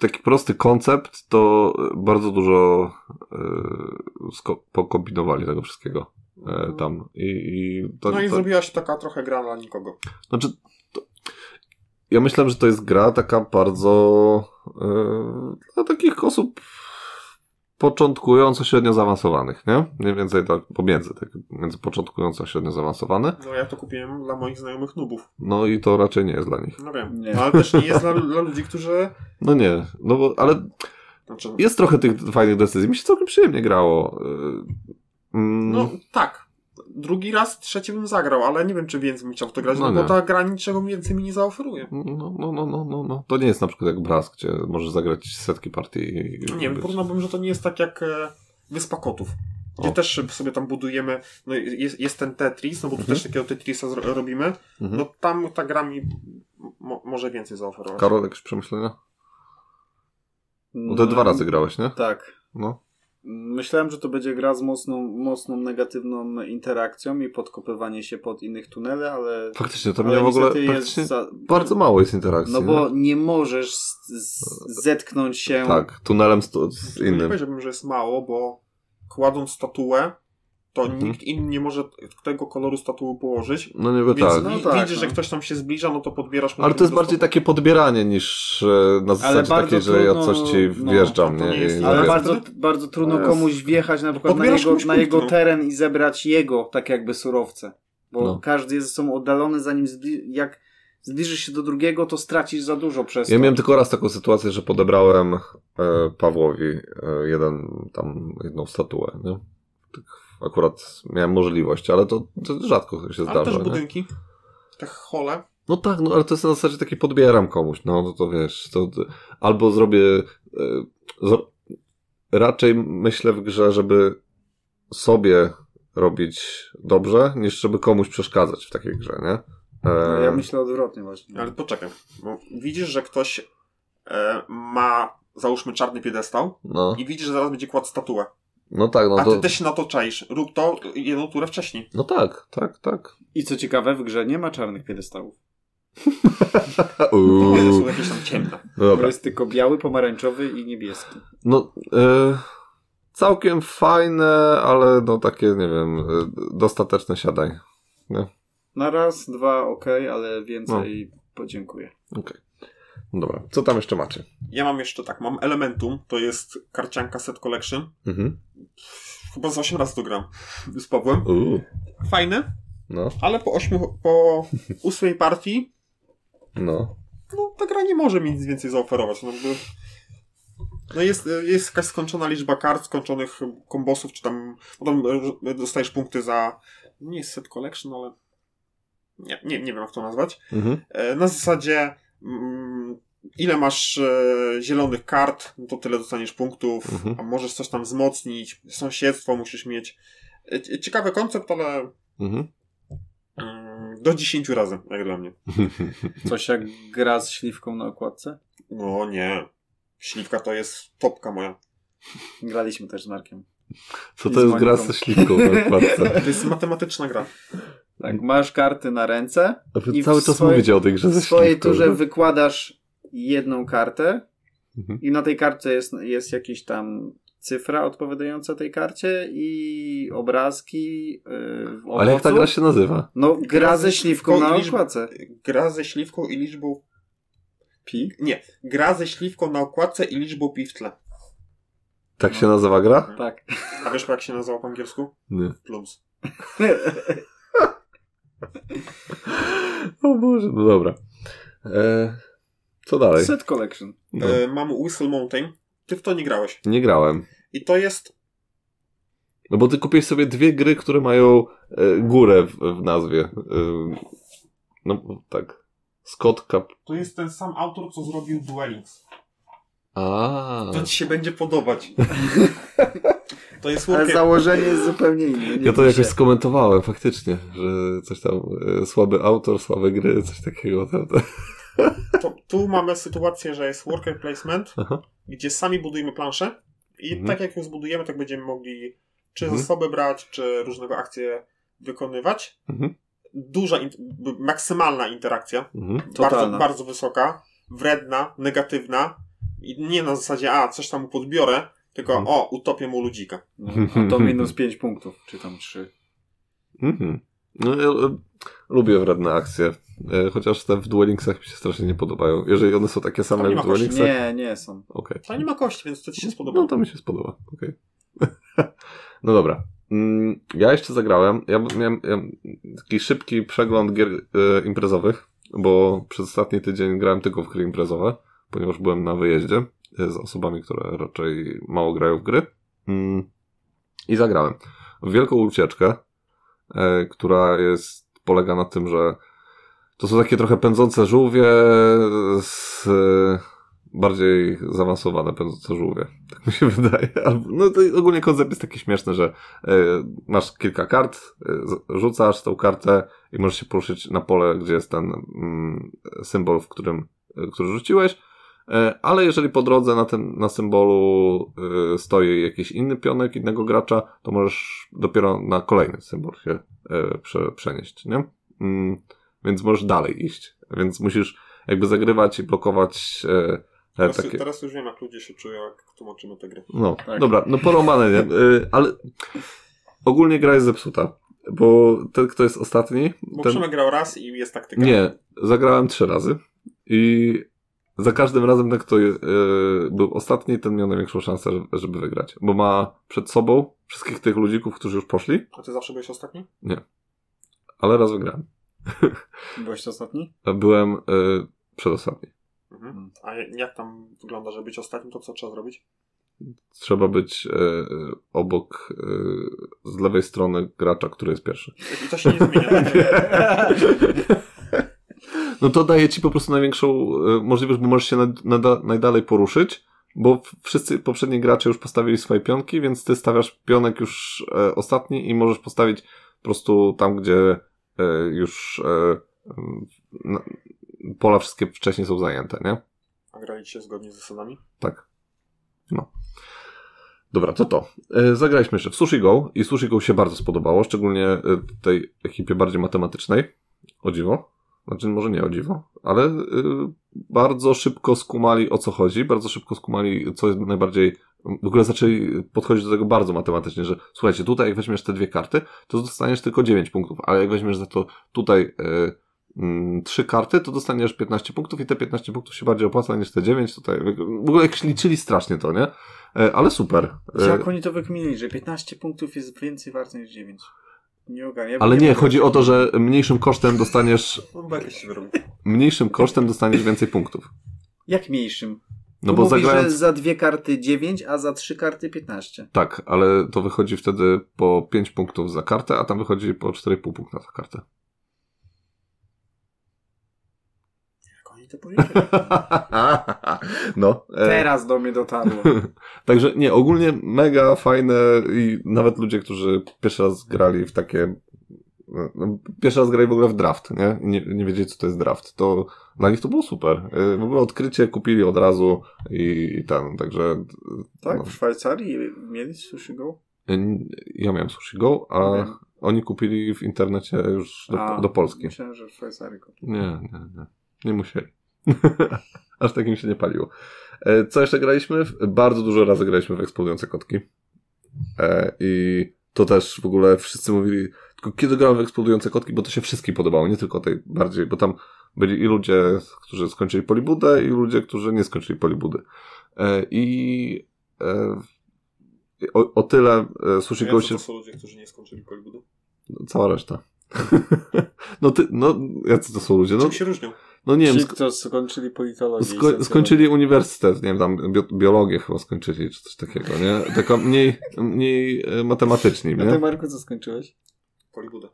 taki prosty koncept, to bardzo dużo e, sko- pokombinowali tego wszystkiego e, tam. I, i to, Mhm. No, i to, zrobiła się taka trochę gra dla nikogo. Znaczy, to, ja myślałem, że to jest gra taka bardzo e, dla takich osób początkująco średnio zaawansowanych, nie? Mniej więcej tak pomiędzy, tak, między początkująco a średnio zaawansowane. No ja to kupiłem dla moich znajomych nubów. No i to raczej nie jest dla nich. No wiem. Nie. No, ale też nie jest [laughs] dla, dla ludzi, którzy... No nie, no bo, ale Znaczy, jest trochę tych fajnych decyzji. Mi się całkiem przyjemnie grało. E, mm, No tak. Drugi raz, trzeci bym zagrał, ale nie wiem, czy więcej bym chciał w to grać, No no, bo nie. ta gra niczego więcej mi nie zaoferuje. No, no, no, no, no, no. To nie jest na przykład jak Brask, gdzie możesz zagrać setki partii. i- i No nie wiem, być- porównałbym, że to nie jest tak jak e, Wyspa Kotów, gdzie O. też e, sobie tam budujemy, no jest, jest ten Tetris, no bo tu Mhm. też takiego Tetrisa zro- robimy, Mhm. no tam ta gra mi mo- może więcej zaoferować. Karol, jakieś przemyślenia? Bo No te dwa razy grałeś, nie? Tak. No. Myślałem, że to będzie gra z mocną, mocną negatywną interakcją i podkopywanie się pod innych tunele, ale, Faktycznie, to mnie ale w ogóle niestety praktycznie jest za... bardzo mało jest interakcji. No bo nie? nie możesz z, z, zetknąć się Tak, tunelem z, z Nie innym. powiedziałbym, że jest mało, bo kładąc statuę, to Mhm. nikt inny nie może tego koloru statuły położyć, No niby więc tak. no wi- tak, widzisz, no. że ktoś tam się zbliża, no to podbierasz mu Ale ten to jest do bardziej statuły. takie podbieranie niż e, na zasadzie bardzo takiej, że ja trudno, coś ci no, wjeżdżam, to nie? nie jest- I- Ale Jest. bardzo, bardzo trudno Jest. komuś wjechać na przykład na Podbierasz jego, komuś na punkt, jego no. teren i zebrać jego, tak jakby surowce. Bo No. każdy jest ze sobą oddalony, zanim zbli- jak zbliżysz się do drugiego, to stracisz za dużo przez Ja to. miałem tylko raz taką sytuację, że podebrałem e, Pawłowi e, jeden, tam, jedną statuę. Nie? Tak akurat miałem możliwość, ale to, to rzadko się Ale zdarza. też nie? budynki, te hole. No tak, no ale to jest na zasadzie taki podbieram komuś, no, no to wiesz, to, to, albo zrobię, e, zro, raczej myślę w grze, żeby sobie robić dobrze, niż żeby komuś przeszkadzać w takiej grze, nie? No E, Ja myślę odwrotnie właśnie. Ale poczekaj, bo widzisz, że ktoś e, ma, załóżmy, czarny piedestał no, i widzisz, że zaraz będzie kładł statuę. no tak, no A to, ty też się na to czaisz. Rób to jedną turę wcześniej. no tak, tak, tak. I co ciekawe, w grze nie ma czarnych piedestałów. no To Uuu, one są jakieś tam ciemne. no dobra. To jest tylko biały, pomarańczowy i niebieski. No, e, całkiem fajne, ale no takie, nie wiem, e, dostateczne siadaj. Na raz, dwa ok, ale więcej No. podziękuję. Okej. No Dobra, co tam jeszcze macie? Ja mam jeszcze tak, mam Elementum, to jest karcianka set collection. Mhm. Chyba z 8 razy to gram [laughs] z Pawłem. Uuu. Fajne, No, ale po 8, po 8 partii, no. no ta gra nie może mi nic więcej zaoferować. No, jakby- no jest, jest jakaś skończona liczba kart, skończonych kombosów, czy tam potem e, dostajesz punkty za. Nie jest set collection, ale. Nie, nie, nie wiem jak to nazwać. Mhm. E, Na zasadzie mm, ile masz e, zielonych kart, no to tyle dostaniesz punktów, Mhm. a możesz coś tam wzmocnić, sąsiedztwo musisz mieć. E, cie- Ciekawy koncept, ale Mhm. mm, do 10 razy, jak dla mnie. Coś jak gra z śliwką na okładce? No nie. Śliwka to jest topka moja. Graliśmy też z Markiem. Co I to z jest gra Moniką. ze śliwką na [laughs] okładce? To jest matematyczna gra. Mm. Tak, masz karty na ręce, A wy I w cały czas swojej- mówicie o tej grze w ze swojej śliwką. turze wykładasz jedną kartę Mhm. i na tej kartce jest, jest jakiś tam cyfra odpowiadająca tej karcie i obrazki yy, w Ale jak ta owocu. gra się nazywa? No, gra ze śliwką Tylko na i liczb- okładce. Gra ze śliwką i liczbą. Pi? Nie, gra ze śliwką na okładce i liczbą pi w tle. Tak się nazywa gra? Tak. A wiesz jak się nazywa po angielsku? Nie. [gasps] Plums. O Boże, no dobra. E, co dalej? [laughs] Set collection. No. E, mam Whistle Mountain. Ty w to nie grałeś. Nie grałem. I to jest. No bo ty kupiłeś sobie dwie gry, które mają e, górę w, w nazwie. E, no tak. Scott Cup. To jest ten sam autor, co zrobił Dwellings. A. To ci się będzie podobać. to jest Ale worker- założenie jest zupełnie inne. nie Ja to wiem, jakoś się. skomentowałem faktycznie, że coś tam, e, słaby autor, słabe gry, coś takiego. [laughs] Tam, tam. To, tu mamy sytuację, że jest worker placement, Aha. gdzie sami budujemy planszę i Mhm. tak jak ją zbudujemy, tak będziemy mogli czy Mhm. zasoby brać, czy różnego akcje wykonywać. Mhm. Duża, in- b- maksymalna interakcja, Mhm. bardzo, Totalna. bardzo wysoka, wredna, negatywna i nie na zasadzie, a coś tam mu podbiorę, tylko Mhm. o, utopię mu ludzika. No, a [laughs] to minus 5 punktów, czy tam 3. Mhm. No, ja, e, lubię wredne akcje, e, chociaż te w Duelingsach mi się strasznie nie podobają. Jeżeli one są takie same Tam nie jak ma w Duelingsach, Nie, nie są. okej. To nie ma kości, więc to ci się spodoba. No to mi się spodoba, okej. [laughs] no dobra. Mm, Ja jeszcze zagrałem, ja b- miałem, ja taki szybki przegląd gier e, imprezowych, bo przez ostatni tydzień grałem tylko w gry imprezowe, ponieważ byłem na wyjeździe e, z osobami, które raczej mało grają w gry. Mm, I zagrałem w wielką ucieczkę, e, która jest, polega na tym, że to są takie trochę pędzące żółwie z e, bardziej zaawansowane pędzące żółwie. Tak mi się wydaje. Albo- No to ogólnie koncept jest taki śmieszny, że e, masz kilka kart, e, z- rzucasz tą kartę i możesz się poruszyć na pole, gdzie jest ten mm, symbol, w którym, e, który rzuciłeś. E, Ale jeżeli po drodze na, tym, na symbolu e, stoi jakiś inny pionek innego gracza, to możesz dopiero na kolejny symbol się e, prze, przenieść, nie? Mm, Więc możesz dalej iść. Więc musisz jakby zagrywać i blokować e, e, Teraz, takie... teraz już wiem, jak ludzie się czują, jak tłumaczymy te gry. No, Tak. dobra, no porąbane, nie? Y, ale ogólnie gra jest zepsuta, bo ten, kto jest ostatni, Bo ten... Przemek grał raz i jest tak taktyka. Nie, zagrałem trzy razy i za każdym razem ten, kto y, był ostatni, ten miał największą szansę, żeby- żeby wygrać, bo ma przed sobą wszystkich tych ludzików, którzy już poszli, A ty zawsze byłeś ostatni? ale raz wygrałem. Byłeś [laughs] ostatni? Byłem y, przedostatni. Hmm. Mhm. A jak tam wygląda, żeby być ostatnim, to co trzeba zrobić? Trzeba być y, y, obok y, z lewej strony gracza, który jest pierwszy. I to się nie zmienia. tak? [laughs] No to daje ci po prostu największą e, możliwość, bo możesz się nad, nada, najdalej poruszyć, bo w- wszyscy poprzedni gracze już postawili swoje pionki, więc ty stawiasz pionek już e, ostatni i możesz postawić po prostu tam, gdzie e, już e, m, na, pola wszystkie wcześniej są zajęte, nie? A graliście się zgodnie z zasadami? Tak. No. Dobra, to to. E, Zagraliśmy jeszcze w Sushi Go i Sushi Go się bardzo spodobało, szczególnie e, tej ekipie bardziej matematycznej. O dziwo. Znaczy, może nie o dziwo, ale e, bardzo szybko skumali o co chodzi, bardzo szybko skumali co jest najbardziej. W ogóle zaczęli podchodzić do tego bardzo matematycznie, że słuchajcie, tutaj jak weźmiesz te dwie karty, to dostaniesz tylko 9 punktów, ale jak weźmiesz za to tutaj e, mm, trzy karty, to dostaniesz 15 punktów i te 15 punktów się bardziej opłaca niż te 9. Tutaj w ogóle jak liczyli strasznie to, nie? E, Ale super. E, Jak oni to wykminili, że 15 punktów jest więcej warte niż 9? Nie ogarniam. Ale nie, chodzi o to, że mniejszym kosztem dostaniesz No bo jakieś się wyrobił. mniejszym kosztem dostaniesz więcej punktów. Jak mniejszym? No bo mówi, zagrając że za dwie karty 9, a za trzy karty 15. tak, ale to wychodzi wtedy po 5 punktów za kartę, a tam wychodzi po 4,5 punkta za kartę. Jak oni to [laughs] powiedzieli? [laughs] No. e, Teraz do mnie [laughs] dotarło. Także nie, ogólnie mega fajne i nawet ludzie, którzy pierwszy raz grali w takie. No, pierwszy raz grali w ogóle w draft, nie? I nie? Nie wiedzieli, co to jest draft. To dla nich to było super. Y, W ogóle odkrycie kupili od razu i, i ten, także. Tak? No. W Szwajcarii mieli sushi go? y, Ja miałem Sushi Go, a Wiem. oni kupili w internecie już No, do, A, do Polski. Myślałem, że w Szwajcarii. go. Nie, nie, nie. Nie musieli. [laughs] Aż tak im się nie paliło. E, Co jeszcze graliśmy? W- Bardzo dużo razy graliśmy w eksplodujące kotki. E, I to też w ogóle wszyscy mówili, tylko kiedy grałem w eksplodujące kotki, bo to się wszystkim podobało, nie tylko tej bardziej, bo tam byli i ludzie, którzy skończyli polibudę, i ludzie, którzy nie skończyli polibudy. E, I e, o, o tyle e, Sushi Ja Go to, się... to są ludzie, którzy nie skończyli Hollywoodu. Cała reszta. [laughs] no ty, no, jacy to są ludzie? No, Czym się różnią? no nie wiem, Ci, co skończyli politologię. i Sko- socjologię. skończyli uniwersytet, nie wiem, tam bio- biologię chyba skończyli, czy coś takiego, nie? Tylko mniej, mniej e, matematyczni, A ty, nie? Marku, co skończyłeś? Hollywooda.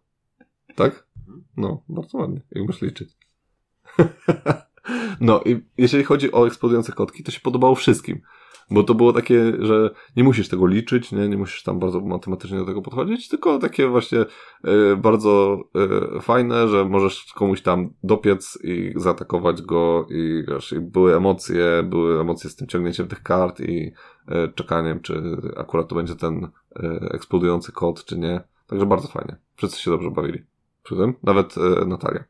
Tak? No, bardzo ładnie, jak masz liczyć. [laughs] No i jeżeli chodzi o eksplodujące kotki, to się podobało wszystkim. Bo to było takie, że nie musisz tego liczyć, nie, nie musisz tam bardzo matematycznie do tego podchodzić, tylko takie właśnie e, bardzo e, fajne, że możesz komuś tam dopiec i zaatakować go i, wiesz, i były emocje, były emocje z tym ciągnięciem tych kart i e, czekaniem, czy akurat to będzie ten e, eksplodujący kot, czy nie. Także bardzo fajnie. Wszyscy się dobrze bawili przy tym, nawet e, Natalia.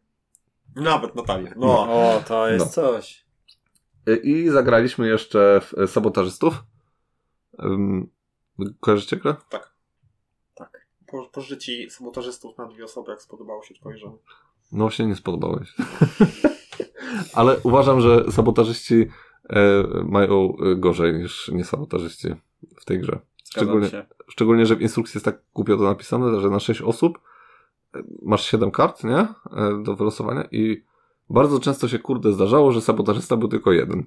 Nawet Natalia. No. O, to jest No. coś. E, I zagraliśmy jeszcze w e, Sabotażystów. Ym, Kojarzycie grę? Po, pożyczę ci sabotażystów na dwie osoby, jak spodobało się twojej żonie. No właśnie nie spodobało [laughs] się. Ale uważam, że sabotażyści e, mają e, gorzej niż niesabotażyści w tej grze. Zgadzam Szczególnie, się. szczególnie, że w instrukcji jest tak głupio to napisane, że na 6 osób e, masz 7 kart, nie? E, Do wylosowania i bardzo często się kurde zdarzało, że sabotażysta był tylko jeden.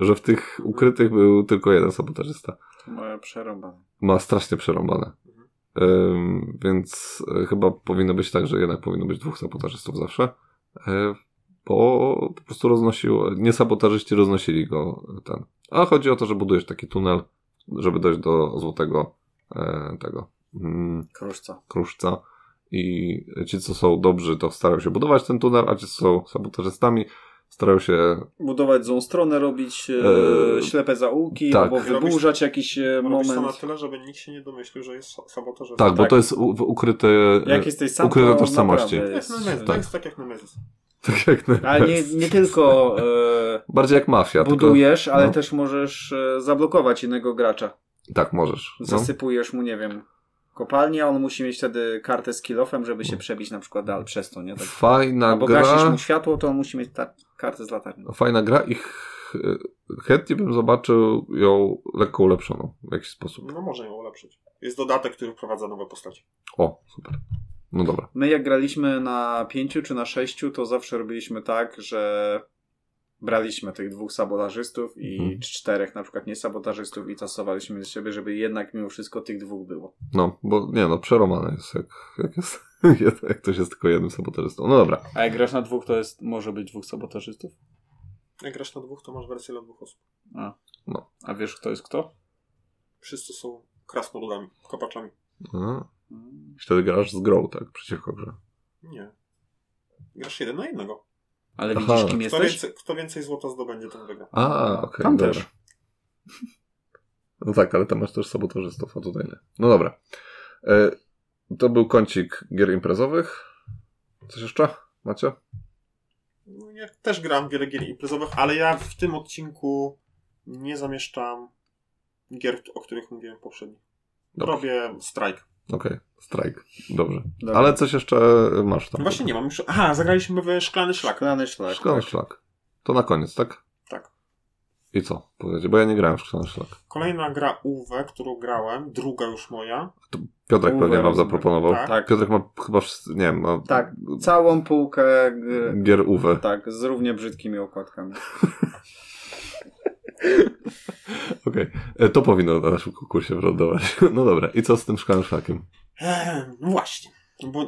Że w tych ukrytych był tylko jeden sabotażysta Moja przerąbana. ma strasznie przerąbane. Mhm. Ym, więc e, chyba powinno być tak, że jednak powinno być dwóch sabotażystów zawsze. E, bo po prostu roznosił, nie sabotażyści roznosili go e, ten. A chodzi o to, że budujesz taki tunel, żeby dojść do złotego e, tego mm, Kruszca. kruszca. I ci, co są dobrzy, to starają się budować ten tunel, a ci, co są sabotażystami, starają się Budować złą stronę, robić e, Eee, ślepe zaułki, tak. albo Robisz- wyburzać jakiś e, Robisz to na moment. tyle, żeby nikt się nie domyślił, że jest sabotażystą. tak, bo tak. to jest u, w ukryte e, Jak jesteś sam, ukryte to tożsamości. naprawdę Jak jest- Nemezis, tak. tak. Jest tak jak Nemezis. [laughs] tak jak Ale nie, nie tylko e, bardziej jak mafia. Tylko, budujesz, ale no. też możesz e, zablokować innego gracza. tak możesz. no. Zasypujesz mu, nie wiem, kopalnię, a on musi mieć wtedy kartę z kill-offem, żeby się przebić na przykład dal przez to, nie? Tak. Fajna Albo gasisz No. gra. No, mu światło, to on musi mieć ta- kartę z latarnią. Fajna gra i ch- chętnie bym zobaczył ją lekko ulepszoną w jakiś sposób. No może ją ulepszyć. Jest dodatek, który wprowadza nowe postacie. O, super. No dobra. My jak graliśmy na pięciu czy na sześciu, to zawsze robiliśmy tak, że braliśmy tych dwóch sabotażystów i Mhm. czterech na przykład niesabotażystów i tasowaliśmy z siebie, żeby jednak mimo wszystko tych dwóch było. No, bo nie no, przeromane jest jak, jak jest. [laughs] Jak ktoś jest tylko jednym sabotażystą. No dobra. A jak grasz na dwóch, to jest, może być dwóch sabotażystów? Jak grasz na dwóch, to masz wersję dla dwóch osób. A wiesz, kto jest kto? Wszyscy są krasnoludami, kopaczami. No. I Wtedy grasz z grą, tak? Przeciwko grze. Nie. Grasz jeden na jednego. Ale Aha. widzisz, kim Kto jesteś? więcej, kto więcej złota zdobędzie, ten wygra. A, okej, Tam dobra. też. [laughs] No tak, ale tam masz też sabotażystów, a tutaj nie. No dobra. E, to był kącik gier imprezowych. Coś jeszcze? Macie? No, Ja też gram wiele gier imprezowych, ale ja w tym odcinku nie zamieszczam gier, o których mówiłem poprzednio. Dobrze. Robię strike. Okej, strajk. Dobrze. Dobra. Ale coś jeszcze e, masz tam. Właśnie nie mam już. Aha, zagraliśmy w szklany szlak. Szklany szlak. Szklany szlak. To na koniec, tak? Tak. I co? Powiedzcie, bo ja nie grałem w szklany szlak. Kolejna gra Uwe, którą grałem, druga już moja. Piotrek Uwe, pewnie wam rozumiem. zaproponował. Tak. Tak. Piotrek ma chyba wszyscy, nie wiem, ma Tak, całą półkę e, gier Uwe. tak, z równie brzydkimi okładkami. Okej. E, To powinno na naszym konkursie wylądować. [laughs] No dobra. I co z tym szklanym szlakiem? Eee, no właśnie. Bo e,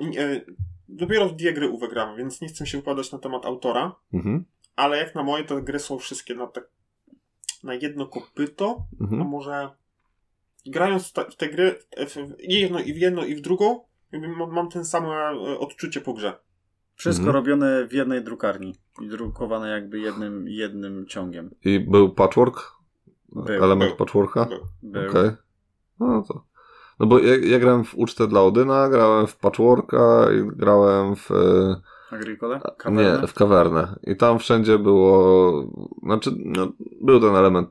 dopiero w dwie gry Uwe gram, więc nie chcę się wypowiadać na temat autora, Mhm. ale jak na moje, te gry są wszystkie na, tak, na jedno kopyto. A mhm. może grając w te, w te gry, w, w, i jedno, i w jedną, i w drugą, jakby mam, mam ten samo e, odczucie po grze. Wszystko Mhm. robione w jednej drukarni i drukowane jakby jednym, jednym ciągiem. I był patchwork? Był, Element był. patchworka? Był. Był. Okej. No to. No bo ja, ja grałem w ucztę dla Odyna, grałem w patchworka i grałem w. e, Agricole? Tak. Nie, w kawernę. I tam wszędzie było. Znaczy, no, był ten element.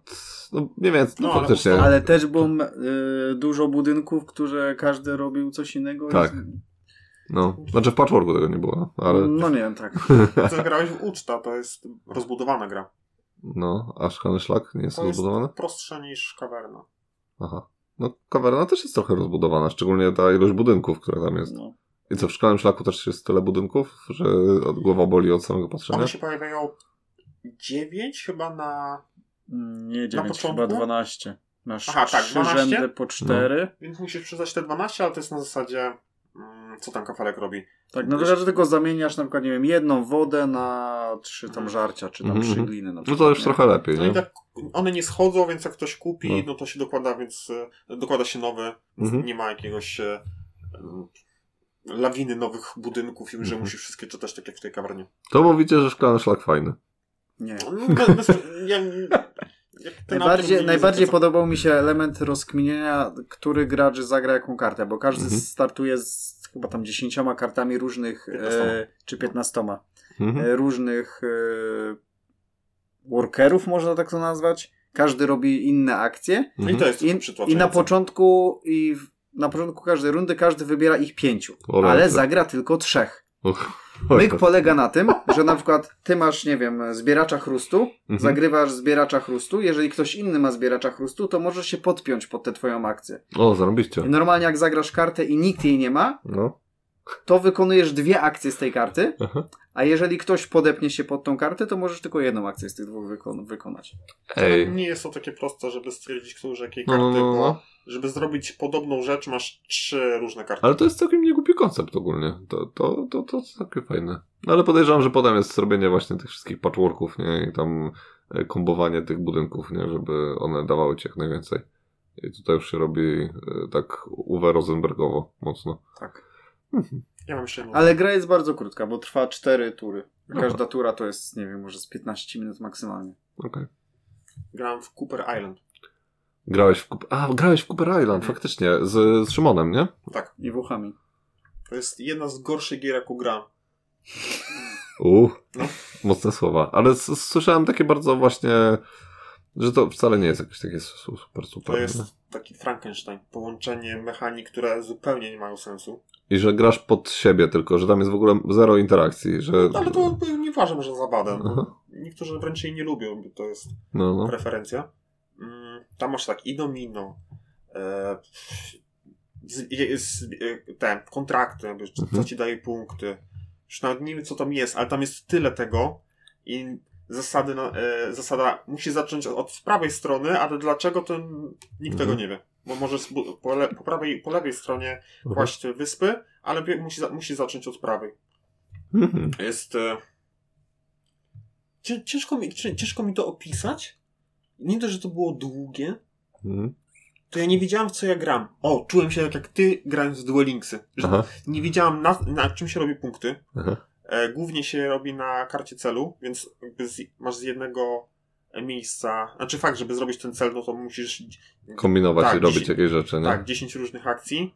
No, nie wiem, no, No, ale faktycznie. powstało- Ale też było m, y, dużo budynków, które każdy robił coś innego. i- Tak, No. Znaczy, w patchworku tego nie było, Mm. ale. No nie wiem, tak. Co grałeś w Uczta, to jest rozbudowana gra. No, a szklany szlak nie jest To jest rozbudowany? prostsza niż kawerna. Aha. No, kawerna też jest trochę rozbudowana, szczególnie ta ilość budynków, która tam [laughs] jest. No. I co, w szklanym szlaku też jest tyle budynków, że od głowa boli od samego patrzenia? One się pojawiają 9 chyba na... Mm, Nie, Na 9, początku? chyba 12. Masz Aha, tak, trzy 12? No. rzędy po 4. Więc musisz przyznać te 12, ale to jest na zasadzie... Mm, mm, co tam kafelek robi. Tak, no wiesz, że tylko zamieniasz na przykład, nie wiem, jedną wodę na trzy tam żarcia, czy tam Mhm, trzy mhm. gliny na przykład. No to już nie? trochę lepiej, No i nie? tak one nie schodzą, więc jak ktoś kupi, No. no, to się dokłada, więc e, dokłada się nowy, Mhm. nie ma jakiegoś e, m, lawiny nowych budynków i że Mhm. musisz wszystkie czytać tak jak w tej kawernie. To mówicie, że szklany szlak fajny. Nie. No, Bez, bez, ja, jak ten autor Najbardziej, mówi, najbardziej że- podobał mi się element rozkminienia, który gracz zagra jaką kartę, bo każdy Mhm. startuje z chyba tam 10 kartami różnych, e, Piętnastoma. czy 15, Mhm. e, różnych e, workerów, można tak to nazwać. Każdy robi inne akcje. no I Mhm. to jest I, Mhm. i na przytłaczające. początku i w, na początku każdej rundy każdy wybiera ich pięciu, O, ale ręce. zagra tylko trzech. Oj, Myk tak. polega na tym, że na przykład ty masz, nie wiem, zbieracza chrustu, Mhm. zagrywasz zbieracza chrustu, jeżeli ktoś inny ma zbieracza chrustu, to możesz się podpiąć pod tę twoją akcję. O, I zarobiście. normalnie jak zagrasz kartę i nikt jej nie ma, No. to wykonujesz dwie akcje z tej karty, Aha. a jeżeli ktoś podepnie się pod tą kartę, to możesz tylko jedną akcję z tych dwóch wykon- wykonać. Ej. Tak, Nie jest to takie proste, żeby stwierdzić, kto użyje jakiej No, karty, no, no, bo no. żeby zrobić podobną rzecz, masz trzy różne karty. Ale to jest całkiem niegłupi koncept ogólnie. To, to, to, to jest takie fajne. No ale podejrzewam, że potem jest zrobienie właśnie tych wszystkich patchworków, nie? I tam e, kombowanie tych budynków, nie? Żeby one dawały ci jak najwięcej. I tutaj już się robi e, tak Uwe Rosenbergowo mocno. Tak. Ja mam jeszcze jedną. Ale gra jest bardzo krótka, bo trwa cztery tury. Dobra. Każda tura to jest, nie wiem, może z 15 minut maksymalnie. Okej. Grałem w Cooper Island. Grałeś w Cooper... A, grałeś w Cooper Island, faktycznie. Z, z Szymonem, nie? Tak, I [laughs] wuchami. to jest jedna z gorszych gier, jaką grałem. Uuu, No. mocne słowa. Ale s- słyszałem takie bardzo właśnie, że to wcale nie jest jakieś takie su- super, super. To jest nie? taki Frankenstein. Połączenie mechanik, które zupełnie nie mają sensu. I że grasz pod siebie tylko, że tam jest w ogóle zero interakcji, że... No, ale to nie uważam, że za badę. Aha. Niektórzy wręcz jej nie lubią, bo to jest No, no. preferencja. Mm, Tam masz tak, i domino, e, z, i- z, e, te kontrakty, jakby, co Mhm. ci daje punkty. Już nawet nie wiem, co tam jest, ale tam jest tyle tego i zasady, na, e, zasada musi zacząć od z prawej strony, ale dlaczego, to nikt Mhm. tego nie wie. Bo może z, po, le, po, prawej, po lewej stronie Mhm. kłaść wyspy, ale bie- musi, za- musi zacząć od prawej. Mhm. Jest. E... Cię- Ciężko, mi, cię- ciężko mi to opisać. Nie dość, że to było długie, Mhm. to ja nie wiedziałam, w co ja gram. O, czułem się tak jak ty grając w Duel Linksy. Że Aha. Nie wiedziałam, na, na czym się robi punkty. Aha. E, głównie się robi na karcie celu, więc jakby z, masz z jednego miejsca. Znaczy, fakt, żeby zrobić ten cel, no to musisz. Kombinować Tak, i robić dziesięć- jakieś rzeczy, nie? Tak, 10 różnych akcji.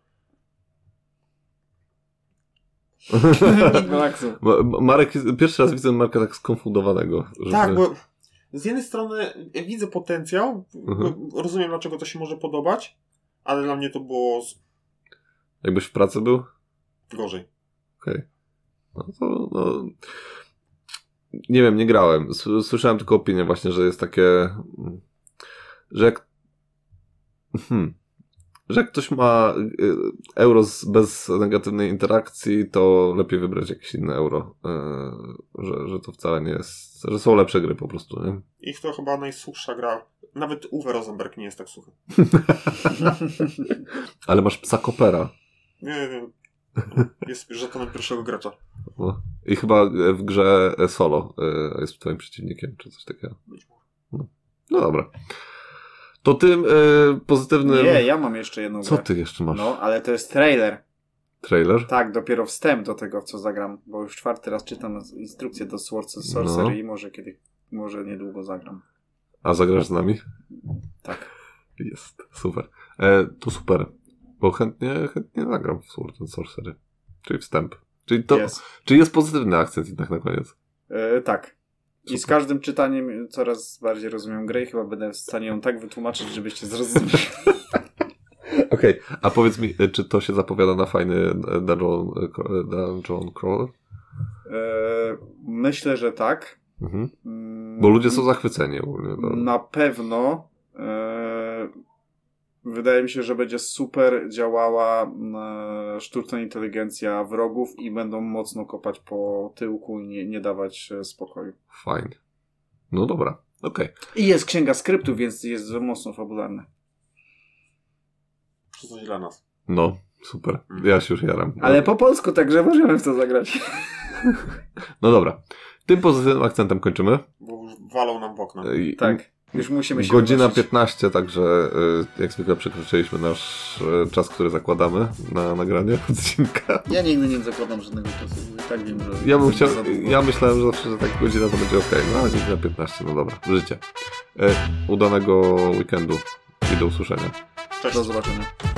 [laughs] Ma- Ma- Marek, pierwszy raz widzę Marka tak skonfundowanego. Że Tak, bo z jednej strony widzę potencjał, Mhm. bo rozumiem dlaczego to się może podobać, ale dla mnie to było z- Jakbyś w pracy był? gorzej. No to, no... Nie wiem, nie grałem. S- Słyszałem tylko opinię właśnie, że jest takie... Że jak... Hmm. Że jak ktoś ma y, euro z, bez negatywnej interakcji, to lepiej wybrać jakieś inne euro. Y, że, że to wcale nie jest... Że są lepsze gry po prostu, nie? Ich to chyba najsuchsza gra. Nawet Uwe Rosenberg nie jest tak suchy. Ale masz psa kopera. Nie wiem. Jest żetonem pierwszego gracza. No. I chyba e, w grze e, solo e, jest twoim przeciwnikiem, czy coś takiego. Być może. No dobra. To tym e, pozytywnym... Nie, ja mam jeszcze jedną Co grę. ty jeszcze masz? No, ale to jest trailer. Trailer? Tak, dopiero wstęp do tego, w co zagram, bo już czwarty raz czytam z- instrukcję do Swords and Sorcery No. i może kiedy, może niedługo zagram. A zagrasz z nami? Tak. Jest, super. E, to super, bo chętnie, chętnie zagram w Sword and Sorcery. Czyli wstęp. Czyli, to, Jest. czyli jest pozytywny akcent jednak na koniec. E, tak. I z Super. każdym czytaniem coraz bardziej rozumiem grę i chyba będę w stanie ją tak wytłumaczyć, żebyście [laughs] zrozumieli. Okej, a powiedz mi, e, czy to się zapowiada na fajny e, dungeon, e, cro- e, dungeon crawler? E, myślę, że tak. Mhm. Mm, Bo ludzie są zachwyceni ogólnie. no. Na pewno e, wydaje mi się, że będzie super działała e, sztuczna inteligencja wrogów i będą mocno kopać po tyłku i nie, nie dawać e, spokoju. Fajnie. No dobra, okej. I jest księga skryptu, więc jest mocno fabularne. Czy coś dla nas. No, Super. Ja się już jaram. Ale po polsku, także możemy w to zagrać. No dobra. Tym pozytywnym akcentem kończymy. E, Bo już walą nam w okno. I- Tak. Już musimy się Godzina wynosić. 15, także y, jak zwykle przekroczyliśmy nasz y, czas, który zakładamy na nagranie [laughs] odcinka. Ja nigdy nie zakładam żadnego czasu. bo I tak wiem, że... Ja bym chciał, za długo. ja myślałem, że zawsze, że tak godzina to będzie ok, no ale godzina 15, no dobra, życie. Y, udanego weekendu i do usłyszenia. Cześć. Do zobaczenia.